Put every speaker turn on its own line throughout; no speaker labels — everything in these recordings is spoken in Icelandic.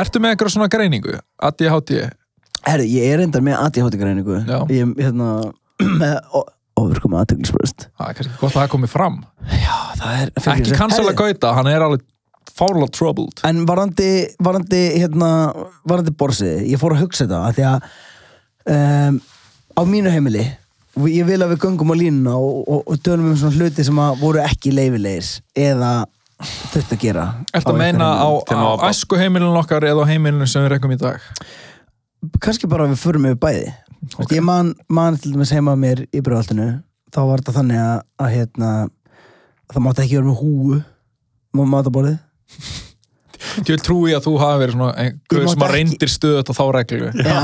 Ertu með einhverja svona greiningu? ADHD?
Herri, ég er endar með ADHD greiningu
Já.
Ég er hérna með ofurkum aðtöklisbröst
Það er kannski gott að það komi fram.
Já, það er
Ekki kansala gauta, hann er alveg fárlega troubled.
En varandi, varandi, hérna, varandi borsið, ég fór að hugsa þetta af því að um, á mínu heimili, og ég vil að við göngum á línuna og, og, og tölum um svona hluti sem að voru ekki leifilegir eða þurft að gera.
Ertu að meina á,
Þeim á-
á æsku heimilinu okkar eða á heimilinu sem við rekum í dag?
Kanski bara við förum yfir bæði.
Ok.
Okay. Ég man, man til dæmis heima að mér í brjóðaltinu, þá var þetta þannig að, að hérna, það mátti ekki vera með húu á mataborðið.
Ég vil trúi að þú hafi verið svona einhver
Ég
sem að
mátti ekki-
reyndir stöðut á þá reglu.
Já,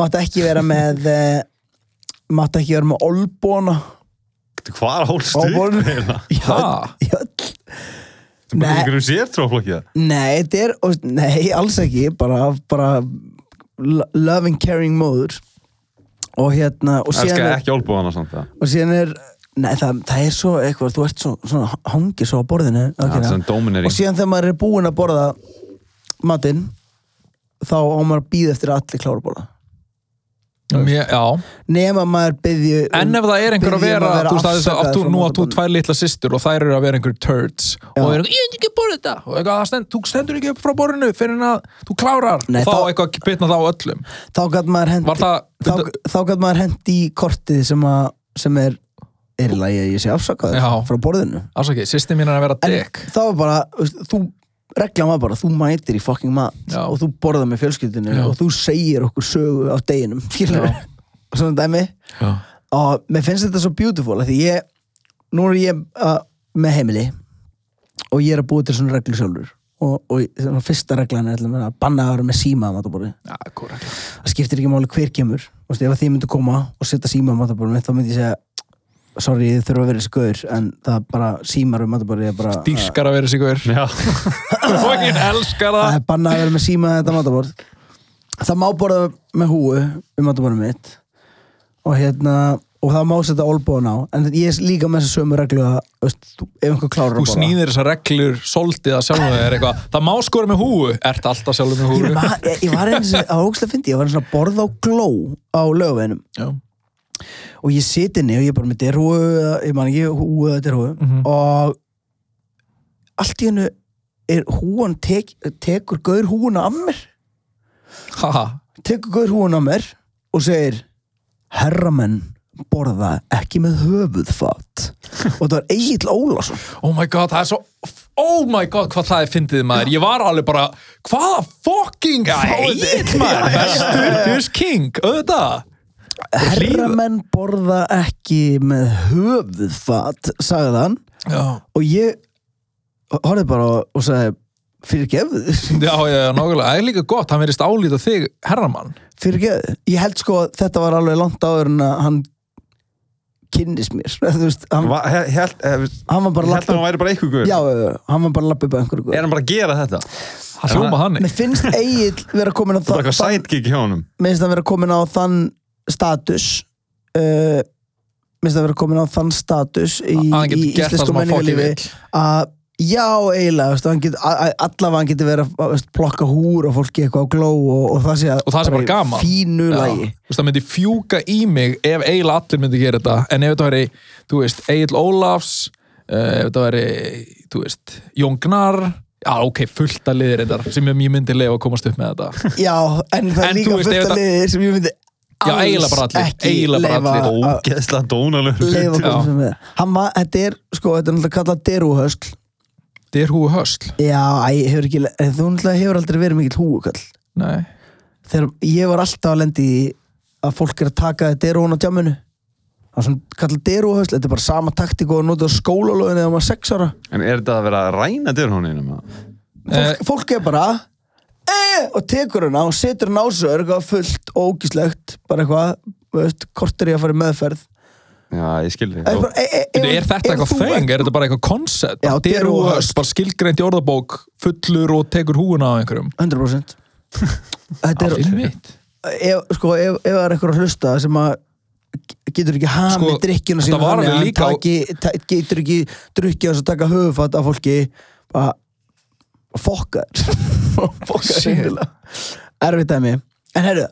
mátti ekki vera með eh, mátti ekki vera með olbóna
Hvar
Á
hólstu
borðinu.
upp eiginlega?
Ha?
í öll
Þú búið
Nei.
einhverjum sér tróflokki
Nei, þetta er, og- nei, alls ekki bara, bara lo- loving, caring móður og hérna, og síðan
Elskar
er,
ekki olbúðana samt það
og síðan er nei, það, það er svo eitthvað, þú ert svo, svona hangið svo á borðinu
Það er
ökkina.
sem dominering
og síðan þegar maður er búinn að borða matinn þá á maður að býða eftir að allir klára að borða
Mér, já.
nema maður um- byggði
En ef það er einhver að
um
vera, þú veist, að það áttu, nú áttu tvær litla systur og þær eru að vera einhver turds og það eru, ég er ekki að borða þetta og eitthvað, það stend, þú stendur ekki upp frá borðinu fyrir en að þú klárar
Nei,
og þá
þá-
eitthvað bitna það á öllum.
þá gæt maður hendi
Var það-
þá, þá gæt maður hendi í kortið sem, að, sem er er í lagi að ég sé afsakaður
Já.
frá borðinu
Ásaki, sýsti mín er að vera
en
dick.
þá var bara, þú veist, þú reglan var bara, þú mætir í fucking mat
Já.
og þú borðar með fjölskyldinu
Já.
og þú segir okkur sögu af deginum skilur
Já.
og svona dæmi
Já.
og mér finnst þetta svo beautiful af því ég, nú er ég uh, með heimili og ég er að búa til svona reglur sjálfur og, og svona fyrsta reglan er ætla að banna að vera með síma að mataborðið
Já, korrekt.
það skiptir ekki máli hver kemur Þú veist, ef að þið myndu koma og setja síma á mataborðinu þá myndi ég segja sorry þið þurfa að vera þessi gaur en það bara símar við mataborðinu er bara
Dýrskar að vera sigur.
Já,
Fokkin elskar
það
það.
er bannað að vera með síma þetta mataborð það má borða með húu við mataborðinu mitt og hérna og það má setja olbóðan á en ég er líka með þessu sömu reglu að þú veist, þú- ef einhver
Þú
klárar að borða
snýðir þessar reglur svolítið að sjálfum þér eitthvað. Það má skora með húu, ert alltaf sjálfum með
ég
húu.
var, ég, ég var eins og ógæslega fyndi ég var eins og að borða á gló á lögveginum
Já.
og ég siti inni og ég er bara með derhúu eða- ég man ekki húu eða derhúu
Mhm.
og allt í hennu er húan tek, tekur gaur húuna af mér
Haha.
tekur gaur húuna af mér og segir herramenn borða ekki með höfuðfat og það var Egil Ólafsson
Oh my god, það er svo Oh my god, hvað það er fyndið maður Ég var alveg bara, hvaða fucking Egil maður, bestur Djurs King, auðvitað
herramenn borða ekki með höfuðfat sagði hann
Já,
og ég horfði bara og sagði fyrir gefðu
já, já, já, nákvæmlega Það er líka gott, hann verðist álítið þig herramann
fyrir ekki, ég held sko að þetta var alveg langt áður en að hann kynnist mér Þú veist, hann,
Va- he- held eh, veist,
hann var
ég
bara
held að hann
lappa
væri bara eitthvað
já,
guður
já, hann var bara lappa upp að einhverju
Er
guð.
hann bara að gera þetta?
Það hljóma þannig
mér finnst Egil vera komin á
Það er
þann
eitthvað sidekick hjá honum
mér finnst hann vera komin á þann status uh, mér finnst hann vera komin á þann status í,
Að hann
í
getur gert það
íslensku
sem hann fokkin
menningalífi
vill
að já, eiginlega, veist, hann get, a- a- allavega hann getur verið að veist, plokka húr og fólki eitthvað á gló og, og það sé, að-
Og það sé bara
í
gaman.
fínu
Já.
lagi
Þú veist, það myndi fjúka í mig ef Egil allir myndi gera þetta en ef þetta væri, þú veist, Egil Ólafs eh, ef þetta væri, þú veist Jón Gnar Já, ok, fullt að liðir þetta sem ég myndi lefa að komast upp með þetta
Já, en það
En
er
þú
líka
veist, ef
fullt
það-
að liði sem ég myndi
Já,
alls
eiginlega bara allir,
ekki
eiginlega bara
leyfa
allir.
að-
Ógeðslega dónalöf
leyfa að koma
Já.
sem við Hann var, þetta er, sko, þetta er náttúrulega kallað derúhösl
Þetta er húi hösl
Já, æ, hefur ekki, en þú náttúrulega hefur aldrei verið mikill húukall
Nei
Þegar ég var alltaf að lendi í að fólk er að taka derúhun á djáminu Það er svona kallað derúhösl, þetta er bara sama taktík og að nota á skólalóðinu eða maður sex ára
En er þetta að vera að ræna dyr honum? um
Fólk, fólk er bara eh, og tekur hana og setur hana á sig og er eitthvað fullt og ógíslegt bara eitthvað, þú veist, kortir ég að fara í meðferð
Já, ég skilði.
Er bara- e- e- ef-
Bíddu, er þetta
ef
eitthvað
þú
þeng?
ert-
Er þetta bara eitthvað koncept?
Já,
Deru og höst, bara skilgreint í orðabók fullur og tekur húuna á einhverjum
100% Þetta er,
Einmitt.
ef, sko, ef, ef það er einhver að hlusta sem að ge- getur ekki hamið sko,
Sko,
drikkjuna
þetta
sína
var alveg
þannig að hann
líka á-
taki, ta, getur ekki drukkið þess að taka höfufatt af fólki bara fokka þér fokka þér
Shit.
sennilega erfitt dæmi en herru,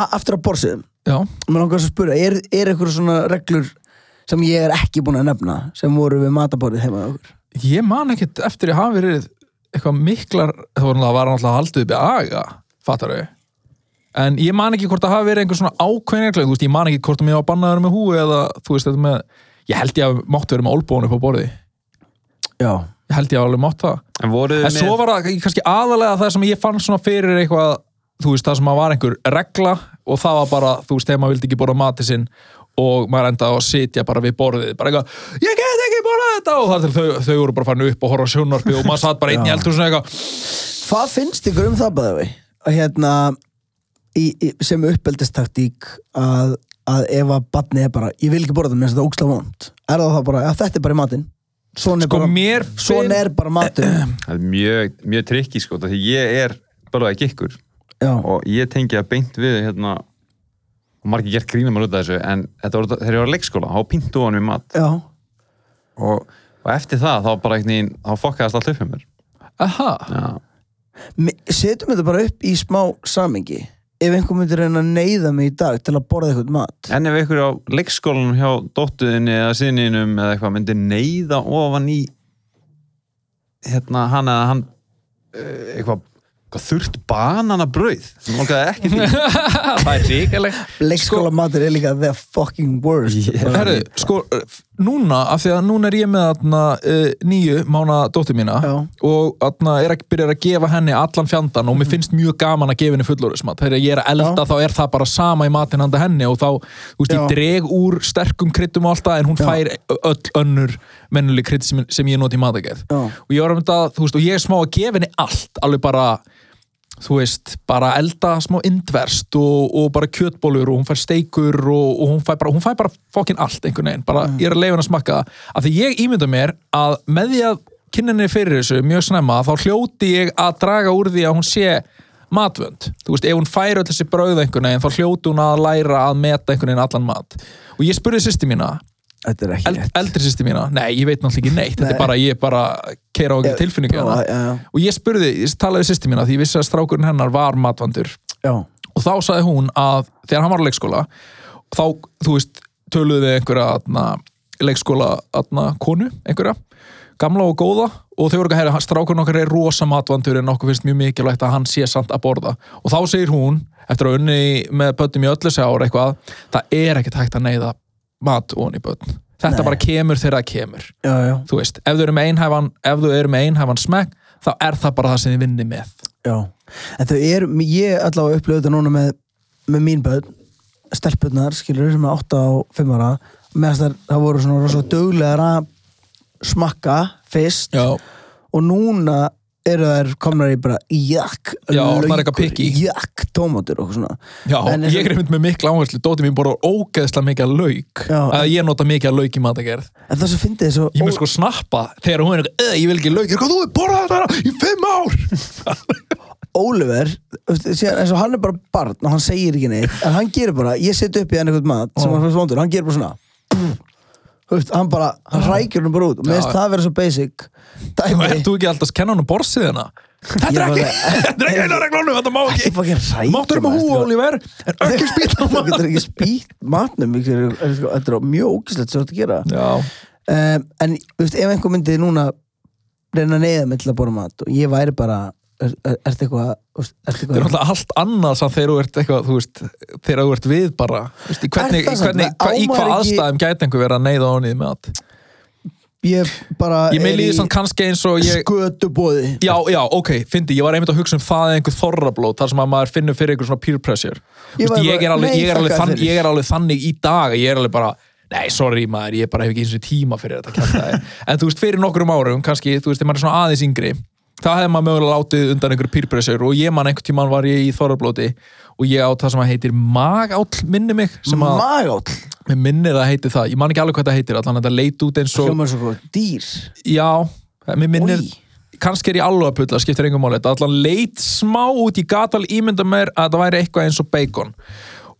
a- aftur að borsiðum
Já,
mér langar að spura, er, er einhver svona reglur sem ég er ekki búin að nefna sem voru við matabórið heima hjá okkur
ég man ekkit eftir ég hafi verið eitthvað miklar það var náttúrulega, var náttúrulega haldið uppi aga fattar þau en ég man ekki hvort það hafi verið einhver svona ákveðin reglur, þú veist, ég man ekki hvort mér var bannaður með húi eða þú veist þetta með ég held ég að mátt verið með olbónu upp á borði ég
já,
held ég að alveg mátt það
En voruð
En
þið
svo
með...
var það kannski aðalega það sem ég fann svona fyrir eitthvað, þú veist, það sem að var einhver regla og það var bara, þú veist, þegar maður vildi ekki borða matið sinn og maður endaði á að sitja bara við borðið, bara eitthvað, ég get ekki borðað þetta og þar til þau, þau voru bara fannu upp og horfa á sjónvarpi og maður satt bara einn í
Já.
eldur svona eitthvað,
Hvað finnst ykkur um það bæði við? Að hérna í, í, sem uppeldistaktík að, að ef að badni er bara ég vil ekki borða það, mér finnst þetta óksla vond er það þá bara, að þetta er bara í matinn svona er,
sko
bara,
mér
svona er bara matinn
Það er mjög, mjög trikki, sko, því ég er bara ekki ykkur
Já,
og ég tengi að beint við, hérna, og margir gert grína mér út af þessu, en þetta var, þegar ég var að leikskóla, þá píntu hann við mat
já,
og, og eftir það, þá bara einhvern veginn, þá fokkaðast allt upp með mér.
aha,
Já.
Mi- setjum þetta bara upp í smá samingi ef einhver myndir reyna að neyða mig í dag til að borða eitthvað mat
Eh,
En ef ykkur á leikskólanum hjá dóttuðinni eða sinninum eða eitthvað myndi neyða ofan í hérna hann eða hann eh, eitthvað, eitthvað þurft bananabrauð sem volkaði ekki því
það er ríkileg
leikskóla matur er líka the fucking worst
sko- Herru, sko, núna, af því að núna er ég með atna, uh, nýju mána dóttir mína
Já. Mhm.
og atna, er að byrja að gefa henni allan fjandan og mér finnst mjög gaman að gefa henni fullorðismat. Þegar ég er að elda þá er það bara sama í matinn handa henni og þá, þú veist,
Já.
ég dreg úr sterkum kryddum og allt það en hún
Já.
fær öll önnur mennuleg krydd sem, sem ég noti í matagerð.
Já.
Og ég var um þetta, þú veist, og ég er smá að gefa henni allt, alveg bara þú veist, bara elda smá indverst og, og bara kjötbólur og hún fær steikur og, og hún fær bara, hún fær bara fokkin allt einhvern veginn, bara ég er að leifa henni að smakka það af því ég ímynda mér að með því að kynninni fyrir þessu mjög snemma þá hljóti ég að draga úr því að hún sé matvönd, þú veist, ef hún fær öll þessi brauð einhvern veginn, þá hljóti hún að læra að meta einhvern veginn allan mat og ég spurði sýsti mína,
þetta er ekki
eld,
rétt
eldri sýsti mína nei, ég veit náttúrulega ekki neitt, þetta
Nei.
er bara ég er bara keira á ekki
Ég-
tilfinningu
Já,
hérna.
já, já.
og ég spurði, ég talaði við sýsti mína því ég vissi að strákurinn hennar var matvandur
já,
og þá sagði hún að þegar hann var á leikskóla þá, þú veist, töluðu við einhverja atna, leikskóla atna, konu, einhverja gamla og góða og þau voru ekki að herra, strákurinn okkar er rosa matvandur en okkur finnst mjög mikilvægt að hann sé samt að borða og þá segir hún, eftir að unni með bönnum í öllu ára eitthvað það er ekkert hægt að neyða mat ofan í bönn þetta
Nei.
bara kemur þegar það kemur
já, já,
þú veist, ef þau eru með einhæfan ef þau eru með einhæfan smekk þá er það bara það sem þið vinni með
Já, en þau eru, ég allavega upplöðu þetta núna með, með mín börn, stelpunnar, skilur, sem er 8 og 5 ára, meðan þær, það voru svona rosalega duglegar að smakka fyrst
Já.
og núna eru þær komnar í bara jakk,
Já, orðnar eitthvað picky.
jakk, tómatur og svona.
Já,
En eins og-
ég er einmitt með mikla áherslu Dóti mín borðar ógeðslega mikið af lauk
Já.
að ég nota mikið af lauk í matagerð
En það sem fyndið þessu,
Ég með sko snappa þegar hún er eitthvað "Eh, ég vil ekki lauk, ég er hvað þú er borðað þetta hérna í fimm ár
Oliver, veistu, síðan, eins og hann er bara barn og hann segir ekki neitt en hann gerir bara, ég set upp í hann eitthvað mat sem hann fannst vondur, hann gerir bara svona Þú veist, hann bara, hann rækjur hann bara út og
Já,
meðist
já.
það vera svo basic
Og
dæmi,
ert þú ekki alltaf að kenna hún á borsiðina? Þetta
Ég
er ekki,
bara-
þetta er ekki eina reglunum, þetta má
Ekki
ekki
fucking hrækja,
Máttur um að
maður,
húa,
þetta-
Oliver, en ekki spýta á
þú
maður
getur ekki spýtt matnum ég er- er- sko, þetta er mjög ógislegt sem þetta gera
Já,
um, en þú veist, ef einhver myndi núna reyna að neyða mig til að borða mat og ég væri bara, er, er, ertu eitthvað þú veist, ertu
þetta er
eitthvað
alltaf allt annað samt þegar þú ert eitthvað, þú veist, þegar þú ert við bara Þú veist, í hvernig,
það samt?
hvernig, hva, í
Á maður
hvað
ekki-
aðstæðum gæti einhver vera að neyða á honið með allt
ég bara
Ég með
er
líði
í
samt kannski eins og ég
skötubóði
Já, já, ok, fyndi, ég var einmitt að hugsa um það eða einhver þorrablót, þar sem að maður finnur fyrir einhver svona peer pressure ég,
Ég
Vist,
var
ég, er
bara,
alveg,
nei,
ég, er alveg
þakka
þann,
fyrir.
ég er alveg þannig í dag að ég er alveg bara, nei, sorry maður ég bara hef ekki eins og tíma fyrir þetta kjartaði en þú veist, fyrir nokkrum árum, kannski, þú veist, þegar maður er svona aðeins yngri, þá hefði maður mögulega látið undan einhver peer pressure og ég man einhvern tímann var ég í þorrablóti og ég á það sem að heitir magáll minni mig, sem að
magáll
Mér minnir að heiti það, ég man ekki alveg hvað það heitir allan þetta leit út eins og
Hljómar svo gróð. Dýr.
Já, mér minnir
Oj.
kannski er ég alveg að pulla, skiptir engum máli þetta allan leit smá út, ég gat alveg ímynda mér að þetta væri eitthvað eins og bacon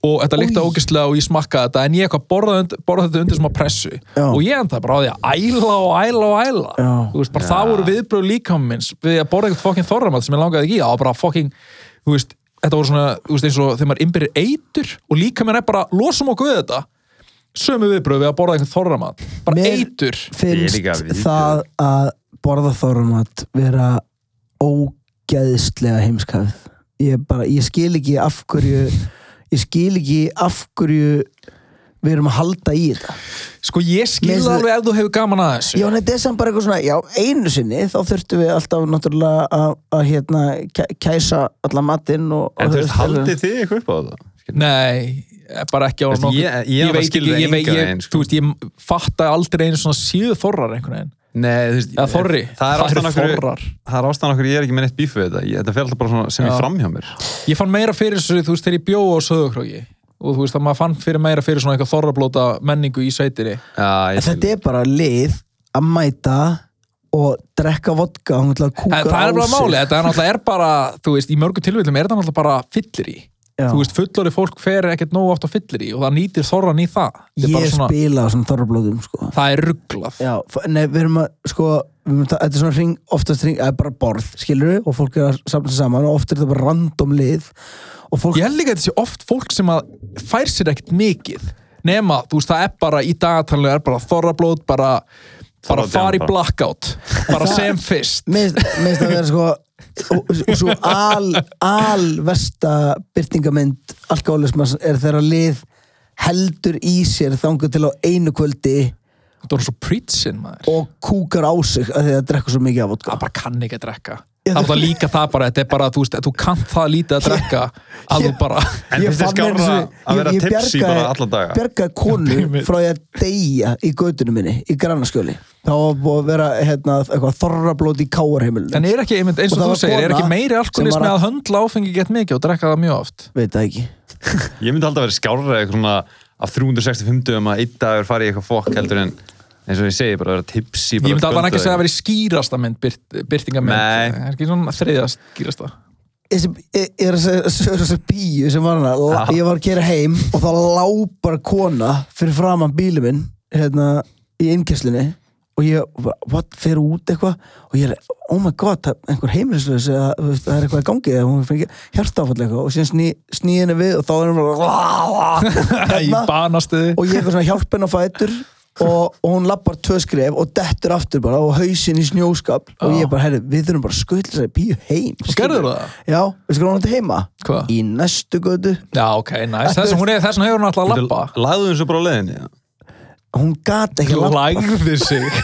og þetta líkta ógistlega og ég smakkaði þetta en ég eitthvað borða, und, borða þetta undir smá pressu
Já.
og ég enda bara á því að æla og æla og æla
Já.
þú veist, bara það voru viðbröð líkam minns við að borða eitthvað fokkin þorramat sem ég langaði ekki í og bara fokkin, þú veist þetta voru svona, þú veist, eins og þegar maður innbyrðir eitur og líka er bara, losum okkur við þetta sömu viðbröð við að borða eitthvað þorramat bara
Mér-
eitur
Ég er
Finnst
líka við-
það að borða þorrumat vera ógæðislega heimskafið. Ég, bara, ég skil ekki af hverju ég skil ekki af hverju við erum að halda í þetta.
Sko ég skil
Mér
það
finnst
alveg ef þú hefur gaman að þessu
Já, en þetta er samt bara eitthvað svona, já, einu sinni þá þurftum við alltaf náttúrulega að, að hérna, kæ- kæsa allan matinn og, og hérna.
En þú veist, haldið þið eitthvað upp á það?
Nei, bara ekki á
Veist,
nokkuð-
ég- ég bara skil það
ég,
engan
ég,
veginn, sko.
Þú veist, ég fatta aldrei einu svona síðu þorrar einhvern veginn
Nei, þú veist,
Eða þorri,
það er
það eru
ástæðan okkur
þorrar.
það er ástæðan okkur ég er ekki með neitt bíf við þetta ég, þetta fer alltaf bara svona sem
Já.
ég framhjá mér
Ég fann meira fyrir þessu, þú veist, þegar ég bjó á söðukróki og þú veist, að maður fann fyrir meira fyrir svona eitthvað þorrablóta menningu í sveitinni
Já, ég
En
skil.
þetta er bara lið að mæta og drekka vodka og hún ætla að kúka
En það er bara máli, þetta er náttúrulega er bara, þú veist, í mörgum tilvíðlum er þetta náttúrulega bara fyllir í
Já.
Þú veist, fullori fólk fer ekkert nógu oft á fyllir í og það nýtir þorran í það Þetta er
Ég
bara svona,
spila á svona þorrablóðum sko.
Það er rugglað
Já, f- nei, við erum að sko, við erum að, þetta er svona hring, oftast hring, eða bara borð, skilur og fólk er að safna sig saman og oft er þetta bara random lið og fólk
Ég held líka að þetta sé oft fólk sem að fær sér ekkert mikið nema, þú veist, það er bara í dagatalinu er bara þorrablóð, bara bara
Þorrablót,
fara í
já, bara.
blackout bara sem fyrst
Mér finnst það að vera sko og- og svo al, al versta byrtingamind alkoholismas er þegar lið heldur í sér þangu til á einu kvöldi
Þú er svo preachin, maður
og kúkar á sig að því að drekka svo mikið af vodka
Það bara kann ekki að drekka Það er það líka það bara, þetta er bara, þú veist, þú kannt það lítið að drekka að þú bara
En finnst þér
fann einu
skárra
sinni-
að vera
ég- ég
tipsy
bjargaði-
bara alla daga?
bjargaði konu frá ég að deyja í götunum minni, í grannaskjöli þá var búið að vera hérna, eitthvað þorrablót í káarheimilinu
En er ekki, einmitt, eins
Og
og
það
þú
var
segir, er
kona
ekki meiri alkoholismi
sem var að-
að höndla áfengi gett mikið og drekka það mjög oft
veit það ekki
ég myndi alltaf vera skárra eitthvað svona af 365 dögum um að einn dagur fari í eitthvað fokk heldur en eins og ég segi bara vera tipsi
Ég myndi allan ekki segja að vera í skýrasta mynd, byrt, byrtinga
Nei.
mynd Ekki svona þriðast skýrasta
þessi, ég ég er að segja sögur þessi bíu sem var hana, la-
Já.
ég var að kera heim og þá lá bara kona fyrir framann bílum minn hérna, í innkesslinni og ég, bara, what, fer út eitthvað og ég er, oh my god, það er einhver heimilisleis eða þú veist, það er eitthvað í gangi eða hún fengi hjartáfall eitthvað og síðan sný, sný henni við og þá er henni bara
Í
hérna,
banastuði
og ég eitthvað svona hjálp henni á fætur og, og hún lappar tvö skref og dettur aftur bara og hausinn í snjóskap og ég bara, herri, við þurfum bara að skull þessari bíu heim
Skerður það?
Já, við skulum hann til heima
Hvað?
Í næstu götu
Já, ok, næst. Þess vegna þess vegna hefur hún alltaf að lappa.
Lagðu þessu bara á leiðinni já.
Hún gat ekki að labba.
Lægði sig.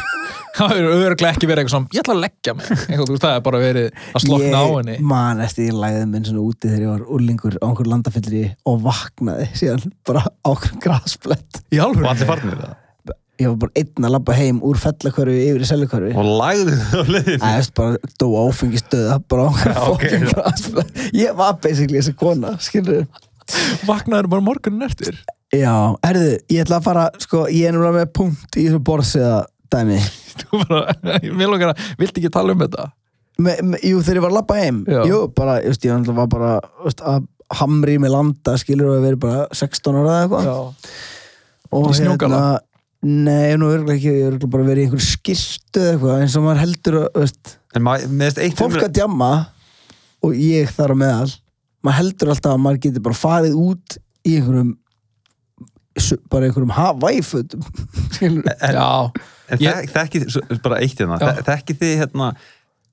Það hefur örglega ekki verið eitthvað svona, ég ætla að leggja mig. Eitthvað, þú veist, það er bara verið að slokna á henni.
Ég man eftir því ég lagði minn svona úti þegar ég var úrlingur á einhver landafyllri og vaknaði síðan bara á einhver grasblett
Í
og allir
alveg.
farnir það
Ég var bara einn að labba heim úr fellakörfi yfir í sellakörfi
og lagðu þessu á leiðinni
Það er bara dó áfengistöða bara á einhver
Já, ok.
fokkin grasblett Ég var basically þessi kona, skilur
Vaknaður bara morgunin eftir.
Já, herðu, ég ætla að fara sko, ég er náttúrulega með punkt í þessu borðsíða dæmi
Þú bara, mér langar að, viltu ekki tala um þetta?
me, me, jú, þegar ég var að lappa heim
Já.
jú, bara, ég veist, ég náttúrulega var bara þú veist, að hamri með landa, skilur og að vera bara 16 ára eða eitthvað
Já.
og hérna-
Í snjógala?
nei, nú örgulega ekki, ég örgulega bara verið í einhver skiltu eða eitthvað, eins og maður heldur að, þú veist,
en maður, með þess eitt um-
fólk að djamma og ég þar á meðal maður heldur alltaf að maður getur bara farið út í einhverjum su- bara einhverjum havæfötum skilur
Já.
En
Ég-
ég... þekki, svo- bara eitt hérna,
Já.
þe- þekkið þið hérna,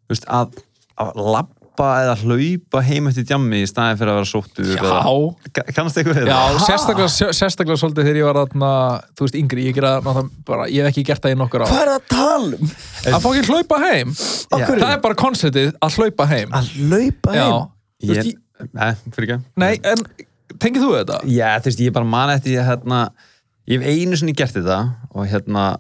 þú veist, að, að labba eða hlaupa heim eftir djammi í staðin fyrir að vera sóttur
Já.
eða- Ka- Kannast eitthvað við
Já,
það?
sérstaklega, sérstaklega svolítið þegar ég var þarna, þú veist, yngri, ég, gera, náttúrulega bara, ég hef ekki gert það í nokkur á.
hvað er það að tala um?
Að fá ekki hlaupa heim.
Já.
Það er bara konceptið að hlaupa heim.
að laupa
Já.
heim?
Þú veist,
Ég,
ég-
nei, fyrir ekki.
Nei, en tengið þú þetta?
Já, þú veist, ég bara man eftir ég hérna, ég hef einu sinni gert þetta og hérna,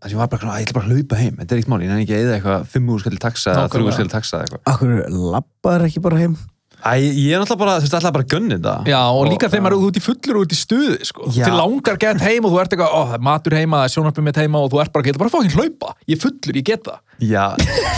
þess að ég var bara, svona, "Æ, ég ætla bara að hlaupa heim, þetta er eitt mál, ég nefn ekki að eða eitthvað fimm úr skall taxa eða
Nákvæmlega.
þrjú úr skall taxa eða eitthvað.
Akkur lappaður ekki bara heim?
Æ, ég er náttúrulega bara, þú veist, alltaf bara að gunni þetta.
Já, og líka þegar maður er út í fullur og út í stuði, sko.
Já.
Þið langar gett heim og þú ert eitthvað, ó, það er matur heima, það er sjónarpið mitt heima og þú ert bara að geta bara fokkin hlaupa. Ég er fullur, ég get það.
Já,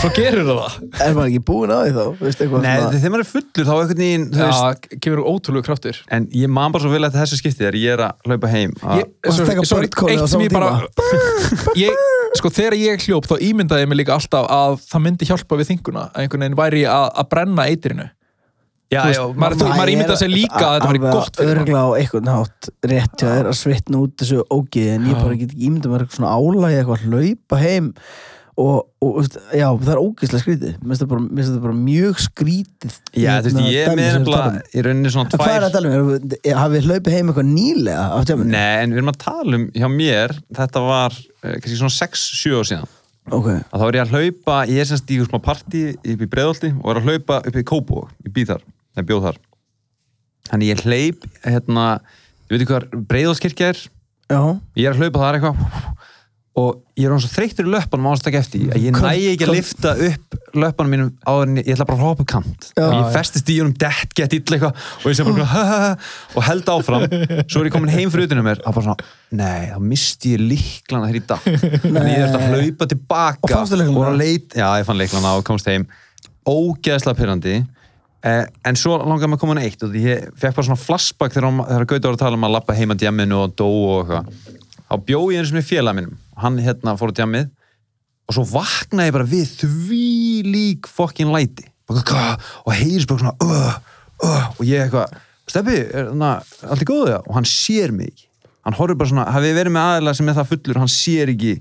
Svo gerir það.
Er maður ekki búin á því þá? Veistu eitthvað
Nei,
svona-
þegar maður er fullur þá einhvern veginn, þú veist,
Já, kemur ótrúlegu kraftur.
en ég man bara svo vel að þessu skiptið er ég er að hlaupa heim. að-
Ég-
Og það
sorry,
taka
sorry,
börnkóli á
eitt sem
sama
ég bara ég, sko þegar ég hljóp þá ímyndaði ég mig líka alltaf að það myndi hjálpa við þinguna að einhvern veginn væri ég að, að brenna eitrinu
já,
þú veist,
já,
maður-
þú-
þú- ímyndar sér líka að þetta væri
Alveg
gott fyrir mann.
Örugglega á einhvern hátt rétt hjá þér að svitna út þessu ógið en ég bara get ekki ímynda mér eitthvað svona álægi eitthvað að hlaupa heim og, og þú veist, já, það er ógeðslega skrítið mér finnst það bara- mér finnst það bara mjög skrítið
já, þú veist,
hérna,
ég er
dæmi sem
með
við
nefnilega,
tala um.
í rauninni svona
En Hvað er að
tvær,
tala um? Erum við- Hafið hlaupið heim eitthvað nýlega á tjáminu?
nei, en við erum að tala um hjá mér, þetta var eh, kannski svona 6-7 ár síðan,
Ok,
að þá er ég að hlaupa, ég er semst í smá partí upp í Breiðolti og er að hlaupa upp í Kóbo, í Bíþar, eða bjóð þar. Þannig ég hleyp, hérna, ég veit ekki hvað Breiðoltskirkja er,
já
ég er að hlaupa þar eitthvað og ég er hann svo þreyttur í löppanum ást ekki eftir því að ég
Kom-
næ ekki að
kom-
lifta upp löppanum mínum áður en ég, ég ætla bara að hoppa upp kant
Já.
og
Já,
ég
já.
festist í honum dett gett illa eitthvað og ég sem bara ha, ha, ha, og held áfram svo er ég komin heim fyrir utan á mér og bara svona, nei, þá misti ég líklana hér í dag en ég þurfti að hlaupa
Og
tilbaka
fannstu lyklana?
var að leit, já, ég fann leiklana og komst heim ógeðslega pyrrandi eh, en svo langaði mig að koma hann eitt og því ég fekk bara svona flashback þegar, hann- þegar Gauti var að tala um að lappa heim að djamminu og dó og eitthvað þá bjó ég eins og mér félag minnum hann hérna fór á djammið og svo vaknaði ég bara við því lík fokkin læti Bara, "Hva?" og heyris bara svona uh, uh, og ég eitthvað, steppi, er þarna allt í góðu það? og hann sér mig ekki hann horfir bara svona, hafi ég verið með aðila sem er það fullur hann sér ekki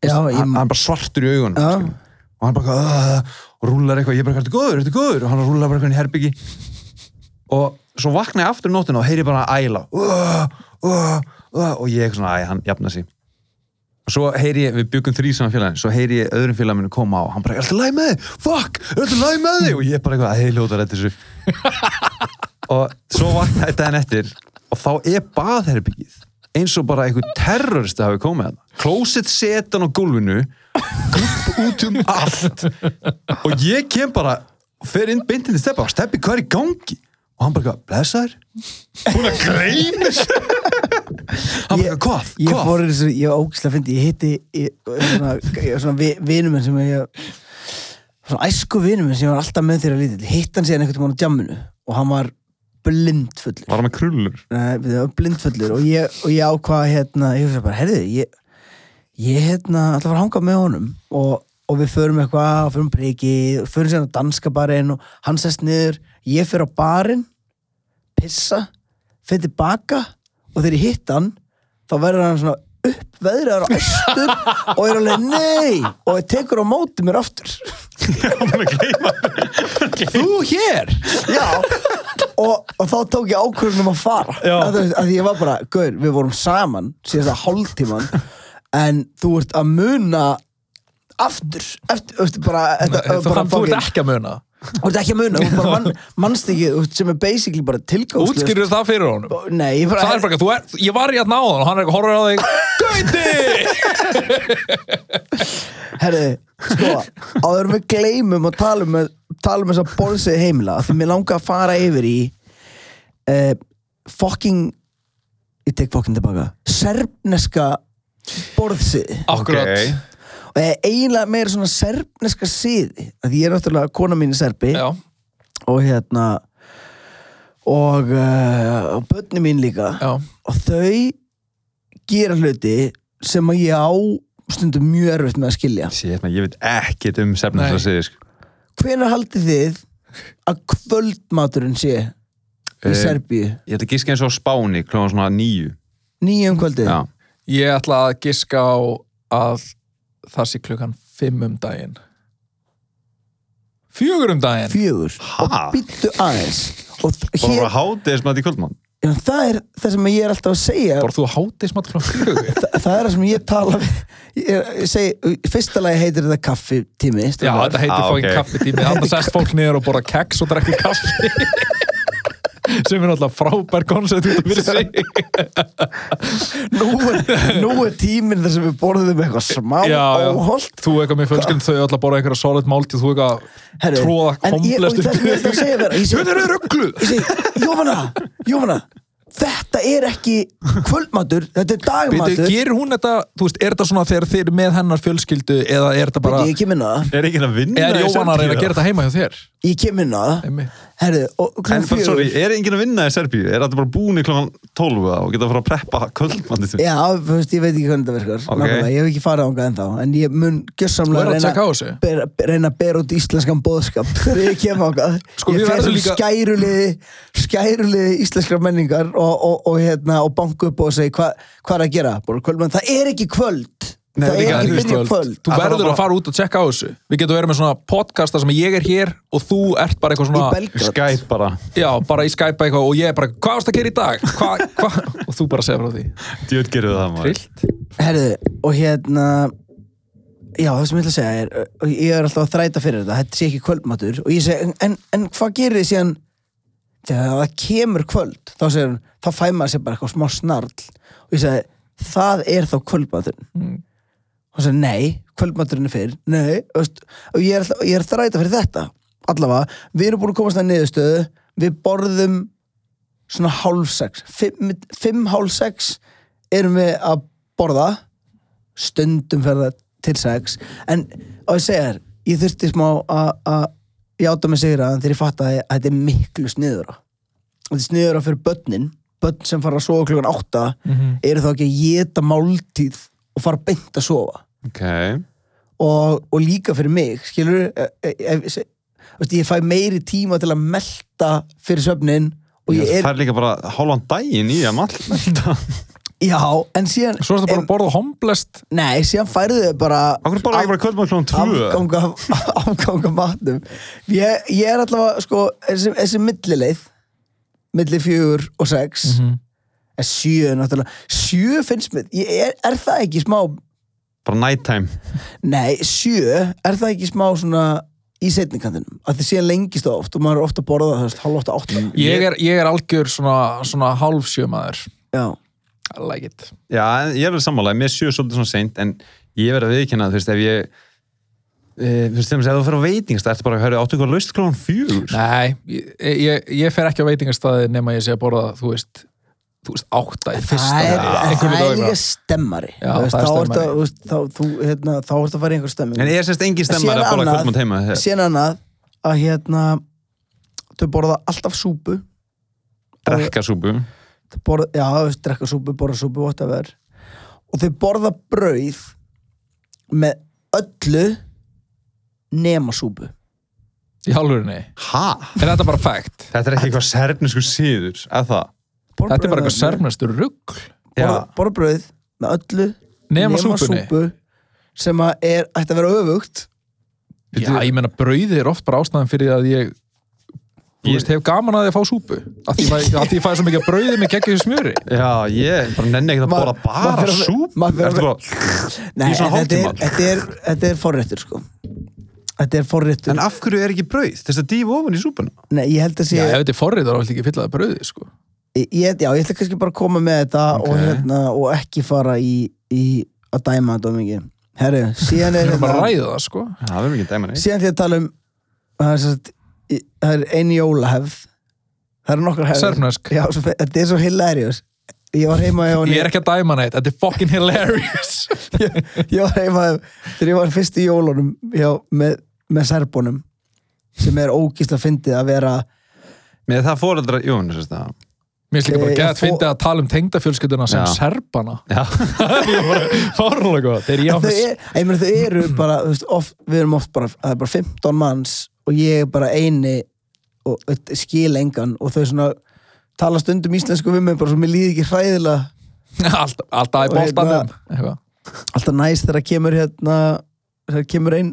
Já, ég,
hann, hann bara svartur í augunum
Já.
skilur. og hann bara uh, og rúlar eitthvað, ég bara, ertu góður, ertu góður og hann rúlar bara eitthvað inn í herbyggi og svo vakna ég aftur um nóttina og heyri bara að æla uh, uh, uh, og ég eitthvað svona, æ, hann jafna sig og svo heyri ég, við byggum þrý saman félagin svo heyri ég öðrum félaginu koma á og hann bara, ertu læg með þig, fuck, ertu læg með þig og ég bara eitthvað, hei, ljóta rétt þessu og svo vakna ég daginn eftir og þá er baðherbyggið eins og bara einhver terroristi hafi komið hann klósett setan á gólfinu klump út um allt og ég kem bara fer inn beintinn til steppa og steppi hvað er í gangi og hann bara eitthvað, blessaður hún er greimir hann bara eitthvað, hvað,
ég
hvað
fór í þessu, ég var ógislega fyndi ég hitti ég, svona, ég, svona vi, vinum minn sem ég svona æsku vinum minn sem ég var alltaf með þeirra lítill hitt hann síðan einhvern tímann á djamminu og hann var blindfullur
var hann með krullur
Nei, við varum blindfullur og ég, og ég ákvað hérna, ég hugsa bara, herði ég, ég hérna, alltaf var að hanga með honum og, og við förum eitthvað og förum priki, förum síðan á danska barinn og hann sest niður, ég fer á barinn pissa fer tilbaka og þegar ég hitt hann þá verður hann svona uppveðraður og æstur og er alveg nei og tekur á móti mér aftur
Þú hér!
Já og, og þá tók ég ákvörðunum að fara að, þú veist, að ég var bara, gaur, við vorum saman síðast að hálftíman en þú ert að muna aftur, eftir, eftir bara, þetta,
Þú,
bara
hann, þú ert
fucking-
ekki að muna
þú ert ekki að muna, þú ert bara mann, mannstikið þú ert sem er basically bara tilgangslust
Útskýrðu það fyrir honum
Nei, ég bara,
Það er bara, þú er, ég var í að náða hann og hann er eitthvað horfður á þig Gauti!
herri, sko, áður en við gleymum að tala um, tala um þess að borðsið heimila, af því mér langar að fara yfir í uh, fucking ég tek fucking tilbaka serbneska borðsið
Akkurat
Ok.
og það er eiginlega meira svona serbneska siði að ég er náttúrulega kona mín er serbi
Já,
og hérna og, uh, og börni mín líka
já,
og þau gera hluti sem að ég á stundum mjög erfitt með að skilja
Sér, ég veit ekkert um
Nei.
sefnins að segja sko.
hvenær haldið þið að kvöldmaturinn sé í
Eh,
Serbíu?
ég ætla að gíska eins og á Spáni klóðan svona nýju
Nýjum kvöldið?
já.
ég ætla að giska á að það sé klukkan fimm um daginn Fjögur um daginn
Fjögur.
Ha?
Og býttu aðeins. Og þ-
bara
hér,
bara hátið sem að þetta í kvöldmann
já, það er það sem ég er alltaf að segja.
Bara þú hátið smátt klukkan fjögur
Þa, það er það sem ég tala við. Ég, er- ég segi, í fyrsta lagi heitir þetta kaffitími.
Já,
strákar.
þetta heitir
Ah,
fókin
ok.
kaffitími Þannig að sest fólk niður og borða keks og drekki kaffi sem er náttúrulega frábær koncept út af fyrir sig
nú er, nú er tíminn þar sem við borðum eitthvað smá óholt
þú eitthvað með fjölskyld þau alltaf borða einhverja solid máltíð þú eitthvað
Herri,
tróða
en ég-
komplest
og það sem ég ætla að segja þér, ég segi-
þetta eru rugglu
ég segi, Jófana, Jófana þetta er ekki kvöldmatur þetta er
Býtu,
dagmatur
gerir hún þetta, þú veist, er þetta svona þegar þið eru með hennar fjölskyldu eða er þetta bara,
Bíddu, ég kem inn á það
Er ekki að vinna
eða er
í
Jóhann að reyna að
Serbíu?
gera þetta heima hjá þér?
ég kem inn á það
Einmitt.
herðu, og
En
klukkan
bara, sorry,
fjögur
er enginn að vinna í Serbíu? Er þetta bara búin í klokkan 12 eða og geta að fara að preppa kvöldmandi
já, þú veist, ég veit ekki hvernig þetta virkar
Ok.
nákvæmlega, ég hef ekki farið ánga ennþá en ég mun
Þú
gjössamlega
verður að
reyna
tjekka á þessu.
bera, reyna að bera út íslenskan bóðskap þegar ég kem ánga
Sko, við
ég fer
verðum
sem
líka-
skæruliði skæruliði íslenskar menningar og, og, og, hérna, og banku upp og segja hva, hvað er að gera, bara kvöldmann það er ekki kvöld
Nei,
það er
líka,
þú
ekki
veist,
byrja
þú- Þú
kvöld
Það þarf
verður
bara-
að fara út og tjekka á þessu Við getum verið með svona podcast þar sem ég er hér og þú ert bara eitthvað
í
svona
Belgrad
Skype bara
Já, bara í Skype eitthvað og ég er bara Hvað varst að gera í dag? Hva, hva? Og þú bara segir frá því
Djöld gerir það maður
Trillt
Herðu, og hérna Já, það sem ég ætla að segja er og ég er alltaf að þræta fyrir þetta, þetta sé ekki kvöldmatur og ég segi, en, en hvað gerir þið síðan þegar það kemur kvöld þá segir hún, þá fæ maður sér bara eitthvað smá snarl og ég segi, það er þá kvöldmaturinn mm. og segi, nei, kvöldmaturinn er fyrir nei, þú veist, og ég er, alltaf, ég er að þræta fyrir þetta allavega, við erum búin að komast að niðurstöðu við borðum svona hálf sex fimm, fimm hálf sex erum við að borða stundum fer það til sex en og ég segja þér ég þurfti smá að að játa mig sigra þegar ég fatt að þetta er miklu sniður þetta er sniður fyrir börnin börn sem fara að sofa klukkan átta eru þá ekki að geta máltíð og fara beint að sofa
Ok,
og, og líka fyrir mig skilur ég fæ meiri tíma til að melta fyrir svefnin og ég
það
er
er líka bara hálfan daginn í að malta
Já, en síðan
Svo er þetta bara að borða homblest
Nei, síðan færðu þau bara
Akkur bara ekki bara kvöldmandi klokkan 2
afganga, afganga matnum ég, ég er allavega, sko þessi, þessi millileið milli fjögur og sex mm -hmm. en sjö, er náttúrulega sjö finnst mér, ég er, er það ekki smá
Bara night time
nei, sjö, er það ekki smá svona í setningantinum, að þið séðan lengist það oft og maður er ofta að borða það, þú veist, hálf ofta átta
Ég er, ég er algjör svona, svona hálfsjömaður
já,
I like it
Já, en ég er verið sammálaði, mér séu svolítið svona seint en ég verið að viðkynna, þú veist, ef ég e, þú veist, til dæmis, ef þú fyrir á veitingast það ertu bara að höra áttu eitthvað laust klokkan fjögur
Nei, ég, ég, ég fer ekki á veitingastæði nema ég sé að borða, þú veist þú veist, átta í fyrsta
það er,
Já,
það
einhverju
er
dagur bara.
líka stemmari
Já,
Þú veist,
það er
þá ertu
stemmari.
að- þú veist, þá þú, hérna, þá ertu að fara í einhver stemming
En ég er semst engin stemmar
Síðan
að borða
annað-
kvöldmand heima eh, þegar-
síðan annað að hérna þau borða alltaf súpu
drekka súpu
Þau borða, já, þú veist, drekka súpu, borða súpu, whatever og þau borða brauð með öllu nema súpu
Í hálfurinni
Ha?
Er þetta bara fact?
Þetta er ekki eitthvað serfnisku síður, eða það?
borða
Þetta er bara eitthvað
brauð með öllu.
sérmestur rugg
borða, borða brauð með öllu
Nema súpunni?
súpu sem að er, ætti að vera öfugt
Já, ég meina brauði er oft bara ástæðan fyrir að ég Þú
Ég-
veist, hef gaman að því að fá súpu að því að því ég fæði svo mikið af brauði með geggjum smjöri
Já, ég bara nenni ekkert að
Maður-
borða bara
maður fer að-
súp
maður fer að-
Ertu bara,
Nei,
Í svona
en þetta er,
hálftíma?
þetta, er, þetta er forréttur sko Þetta er forréttur
En af hverju er ekki brauð? Þess að dýfa ofan í súpuna
Nei, ég held að sé
Já, ef þetta er forrið þá er alltaf ekki fyllaði brauði, sko
ég, ég- já, ég ætla kannski bara að koma með þetta
Ok.
og, hérna, og ekki fara í, í að dæma þetta um ekki Herru, síðan
Við
er hérna-
erum bara að ræða það, sko
Já, það verður ekki dæma neitt
síðan því að tala um það er, satt, það er einu jólahefð það eru nokkar hefð
Serbnesk.
Já, svo, þetta er svo hilarious Ég var heima hjá henni
Ég er ekki að dæma neitt, þetta er fucking hilarious
ég var heima þegar ég var fyrst í jólunum hjá, með, með serbunum sem er ógísla fyndið að vera
Með það fóreldra, jú, en þess að
Mér finnst líka bara
Ég- ég
gett
fó-
fyndið að tala um tengdafjölskylduna sem
Já.
serbana
Já,
Fárlega góð, þeir ég á
þau, er, ég meina, þau eru bara þú veist, oft, við erum oft bara, það er bara 15 manns og ég er bara eini og og skil engan og þau svona tala stundum íslensku við mig bara svo mér líði ekki hræðilega
Alltaf alltaf í
Og hérna-
bóltanum Eitthvað.
alltaf næst þegar kemur hérna þegar kemur ein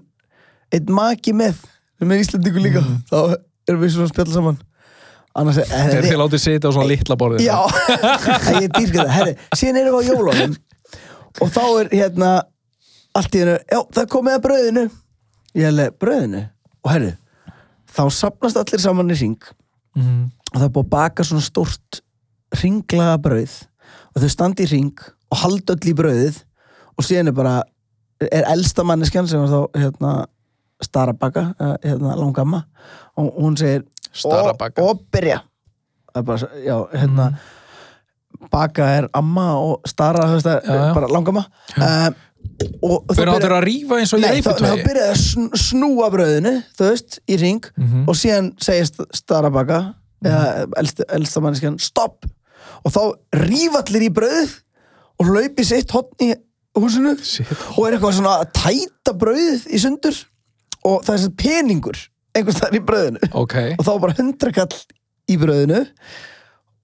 einn maki með sem er íslendingu líka þá erum við svona að spjalla saman annars er,
Þeir þeir látið sitja á svona litla borðið
Já, Æ, ég dýrka það Herri, síðan erum við á jólunum og þá er hérna allt í hennu, já, það komið að brauðinu ég hef leið brauðinu og herri, þá sapnast allir saman í ring
Mhm.
og það er búið að baka svona stórt ringlaða brauð og þau standa í ring og halda öll í brauðið og síðan er bara er elsta manneskjan sem er þá hérna, stara baka, eh, hérna, langamma og hún segir
Stara
"Og-
baka."
og byrja Það er bara, svo- já, hérna baka er amma og stara þú veist, það,
Já, já.
er bara langamma um, og, og
Þau
þá
eru áttur
byrja-
að rífa eins og í
Nei, þá, þá
leifutvægi.
byrjaði að sn- snúa brauðinu þú veist, í ring
Mhm.
og síðan segist Starabaka eða elst, elsta manneskjan, stopp og þá ríf allir í brauð og laupi sitt hotn í húsinu
Sitt
og er eitthvað svona að tæta brauð í sundur og það er sem peningur einhvers staðar í brauðinu
Ok.
og þá var bara hundra kall í brauðinu